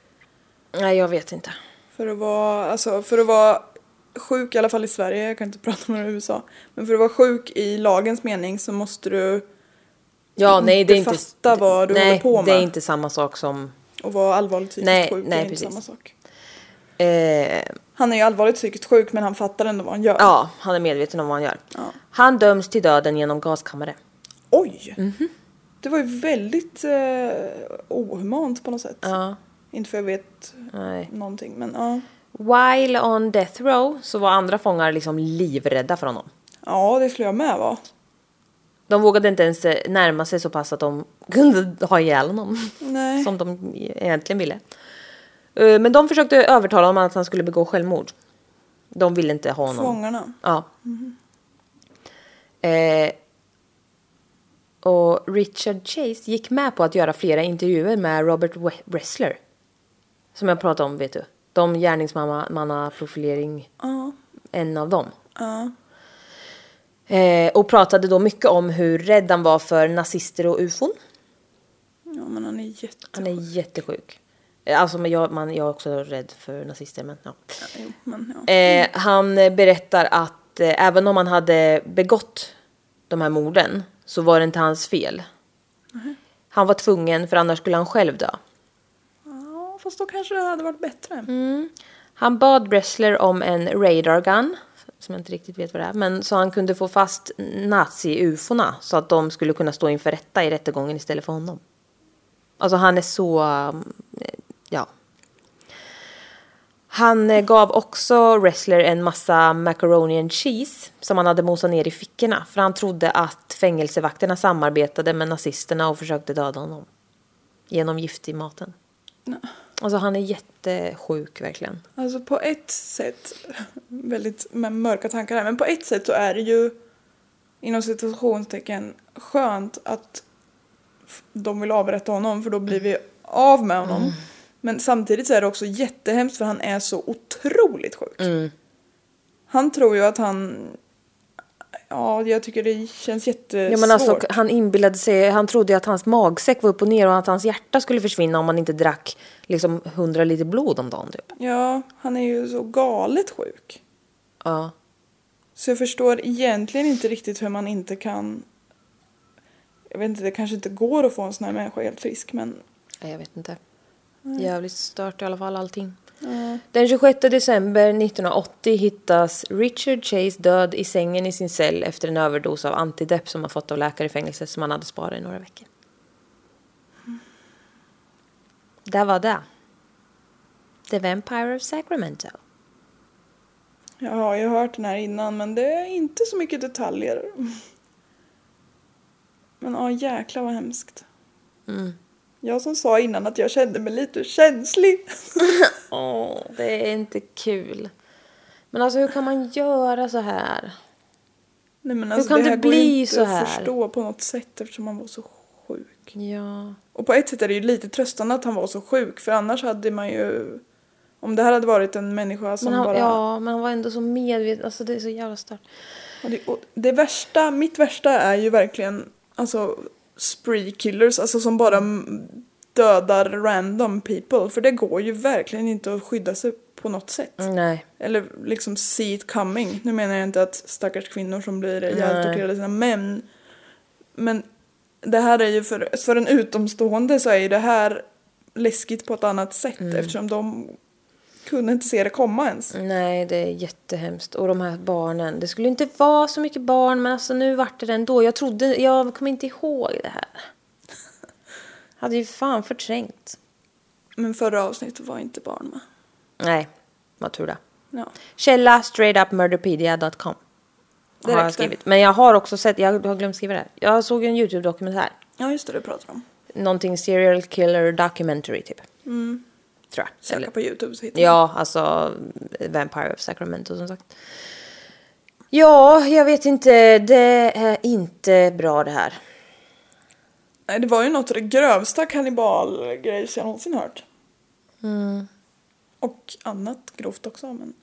Speaker 1: Nej, jag vet inte.
Speaker 2: För att vara, alltså, för att vara sjuk, i alla fall i Sverige, jag kan inte prata om det i USA. Men för att vara sjuk i lagens mening så måste du
Speaker 1: Ja, nej, det är
Speaker 2: Inte
Speaker 1: inte...
Speaker 2: fatta vad du
Speaker 1: nej,
Speaker 2: håller på med.
Speaker 1: det är inte samma sak som...
Speaker 2: och vara allvarligt psykiskt
Speaker 1: Nej,
Speaker 2: sjuk,
Speaker 1: nej,
Speaker 2: är inte
Speaker 1: precis.
Speaker 2: samma sak.
Speaker 1: Eh,
Speaker 2: Han är ju allvarligt psykiskt sjuk men han fattar ändå vad han gör.
Speaker 1: ja, han är medveten om vad han gör.
Speaker 2: Ja.
Speaker 1: Han döms till döden genom gaskammare.
Speaker 2: Oj!
Speaker 1: Mhm.
Speaker 2: Det var ju väldigt eh, ohumant på något sätt.
Speaker 1: Ja,
Speaker 2: Inte för jag vet
Speaker 1: nej.
Speaker 2: någonting men ja.
Speaker 1: While on death row så var andra fångar liksom livrädda för honom.
Speaker 2: Ja, det skulle jag med vara.
Speaker 1: De vågade inte ens eh, närma sig så pass att de kunde ha ihjäl honom.
Speaker 2: Nej.
Speaker 1: Som de egentligen ville. Eh, Men de försökte övertala honom att han skulle begå självmord. De ville inte ha honom.
Speaker 2: Fångarna.
Speaker 1: Ja. Eh, och Richard Chase gick med på att göra flera intervjuer med Robert We- Wrestler. Som jag pratade om, vet du. De gärningsmannaprofilering,
Speaker 2: Ja.
Speaker 1: en av dem.
Speaker 2: ja.
Speaker 1: Eh, och pratade då mycket om hur rädd han var för nazister och ufon.
Speaker 2: Ja men han är jätte...
Speaker 1: Han är jättesjuk. Eh, Alltså, men jag, man, jag är också rädd för nazister, men ja.
Speaker 2: Ja, jo, men ja.
Speaker 1: Eh, han eh, berättar att eh, även om han hade begått de här morden så var det inte hans fel. Han var tvungen, för annars skulle han själv dö.
Speaker 2: ja. Fast då kanske det hade varit bättre.
Speaker 1: Mm. Han bad Bressler om en radar gun, som jag inte riktigt vet vad det är, men så han kunde få fast nazi-ufona så att de skulle kunna stå inför rätta i rättegången istället för honom. Alltså han är så, um, eh, ja. Han eh, gav också Wrestler en massa macaroni and cheese som han hade mosat ner i fickorna för han trodde att fängelsevakterna samarbetade med nazisterna och försökte döda honom. Genom gift i maten.
Speaker 2: Nej.
Speaker 1: Alltså han är jättesjuk verkligen.
Speaker 2: Alltså på ett sätt, väldigt med mörka tankar här, men på ett sätt så är det ju inom situationstecken skönt att f- de vill avrätta honom för då blir vi av med
Speaker 1: Mm.
Speaker 2: honom. Men samtidigt så är det också jättehemskt för han är så otroligt
Speaker 1: Mm.
Speaker 2: sjuk. Han tror ju att han... Ja, jag tycker det känns jättesvårt.
Speaker 1: Ja, men alltså, han inbillade sig, han trodde ju att hans magsäck var upp och ner och att hans hjärta skulle försvinna om han inte drack liksom 100 liter blod om dagen typ.
Speaker 2: Ja, han är ju så galet sjuk.
Speaker 1: Ja.
Speaker 2: Så jag förstår egentligen inte riktigt hur man inte kan... Jag vet inte, det kanske inte går att få en sån här människa helt frisk men...
Speaker 1: Nej, jag vet inte. Jävligt stört i alla fall allting. Mm. Den 26 december 1980 hittas Richard Chase död i sängen i sin cell efter en överdos av antidepp som han fått av läkare i fängelset som han hade sparat i några veckor. Mm. Där var det. The Vampire of Sacramento.
Speaker 2: Ja, jag har hört den här innan men det är inte så mycket detaljer. Men ja, jäklar vad hemskt.
Speaker 1: Mm.
Speaker 2: Jag som sa innan att jag kände mig lite känslig.
Speaker 1: Åh, det är inte kul. Men alltså hur kan man göra så här?
Speaker 2: Nej, men alltså,
Speaker 1: kan
Speaker 2: det,
Speaker 1: det
Speaker 2: här går ju
Speaker 1: bli
Speaker 2: inte
Speaker 1: så här?
Speaker 2: att förstå på något sätt eftersom han var så sjuk.
Speaker 1: Ja.
Speaker 2: Och på ett sätt är det ju lite tröstande att han var så sjuk för annars hade man ju... Om det här hade varit en människa som
Speaker 1: Men han,
Speaker 2: bara...
Speaker 1: ja, men han var ändå så medveten. Alltså det är så jävla stört.
Speaker 2: Och det, och det värsta, mitt värsta är ju verkligen alltså spree killers, alltså som bara mm, dödar random people. För det går ju verkligen inte att skydda sig på något sätt.
Speaker 1: Nej.
Speaker 2: Eller liksom see it coming. Nu menar jag inte att stackars kvinnor som blir ihjältorterade av sina män. Men det här är ju för, för en utomstående så är ju det här läskigt på ett annat sätt eftersom de kunde inte se det komma ens.
Speaker 1: Nej, det är jättehemskt. Och de här barnen. Det skulle inte vara så mycket barn, men alltså nu vart det det ändå. Jag trodde, jag kommer inte ihåg det här. Hade ju fan förträngt.
Speaker 2: Men förra avsnittet var inte barn med.
Speaker 1: Nej, vad tur det.
Speaker 2: Ja.
Speaker 1: Källa straightupmurderpedia.com. Har
Speaker 2: Direkt där.
Speaker 1: jag skrivit. Men jag har också sett, jag har glömt skriva det här. Jag såg en YouTube-dokumentär.
Speaker 2: Ja, just det, du pratar om.
Speaker 1: Någonting serial killer documentary typ. Tror jag.
Speaker 2: Söka Mm. på Youtube så hittar man.
Speaker 1: Ja, alltså Vampire of Sacramento som sagt. Ja, jag vet inte. Det är inte bra det här.
Speaker 2: Nej, det var ju något av det grövsta kannibalgrejs jag någonsin hört. Och annat grovt också, men...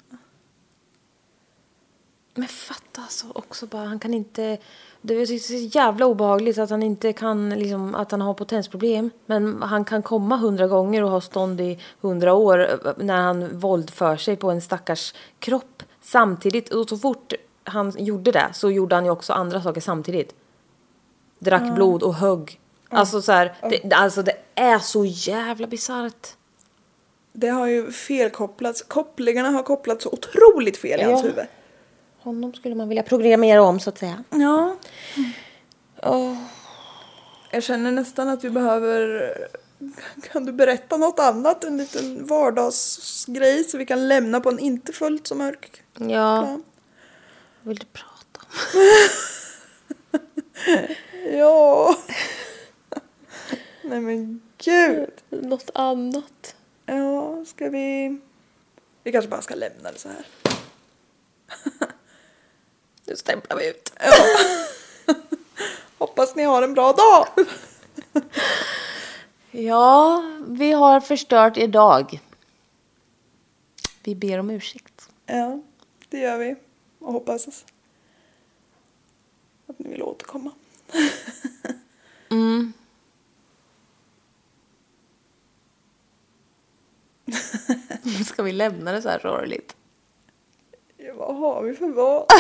Speaker 1: Men fatta alltså också bara, han kan inte... Det är så jävla obehagligt att han inte kan, liksom, att han har potensproblem. Men han kan komma hundra gånger och ha stånd i hundra år eh, när han våldför sig på en stackars kropp. Samtidigt, och så fort han gjorde det så gjorde han ju också andra saker samtidigt. Drack blod och högg. Alltså så här, det, alltså det är så jävla bisarrt.
Speaker 2: Det har ju felkopplats. Kopplingarna har kopplats så otroligt fel i hans
Speaker 1: Ja.
Speaker 2: huvud.
Speaker 1: Honom skulle man vilja programmera om så att säga.
Speaker 2: Ja.
Speaker 1: Åh.
Speaker 2: Jag känner nästan att vi behöver... Kan du berätta något annat? En liten vardagsgrej så vi kan lämna på en inte fullt så mörk
Speaker 1: Ja,
Speaker 2: plan.
Speaker 1: vill du prata om?
Speaker 2: Ja. Nej men gud.
Speaker 1: Något annat.
Speaker 2: Ja, ska vi... Vi kanske bara ska lämna det så här.
Speaker 1: Nu stämplar vi ut.
Speaker 2: Hoppas ni har en bra dag!
Speaker 1: Ja, vi har förstört er dag. Vi ber om ursäkt.
Speaker 2: Ja, det gör vi. Och hoppas att ni vill återkomma.
Speaker 1: Mm. Ska vi lämna det så här sorgligt?
Speaker 2: Ja, vad har vi för vad?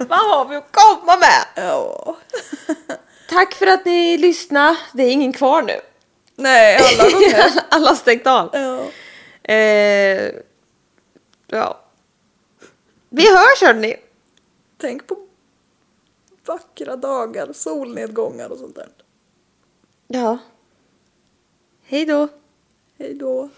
Speaker 1: Vad har vi att komma med?
Speaker 2: Ja.
Speaker 1: Tack för att ni lyssnade. Det är ingen kvar nu.
Speaker 2: Nej, alla har gått hem.
Speaker 1: Alla har stängt av.
Speaker 2: Ja.
Speaker 1: Eh, ja. Vi hörs hörni.
Speaker 2: Tänk på vackra dagar, solnedgångar och sånt där.
Speaker 1: Ja. Hej då.
Speaker 2: Hej då!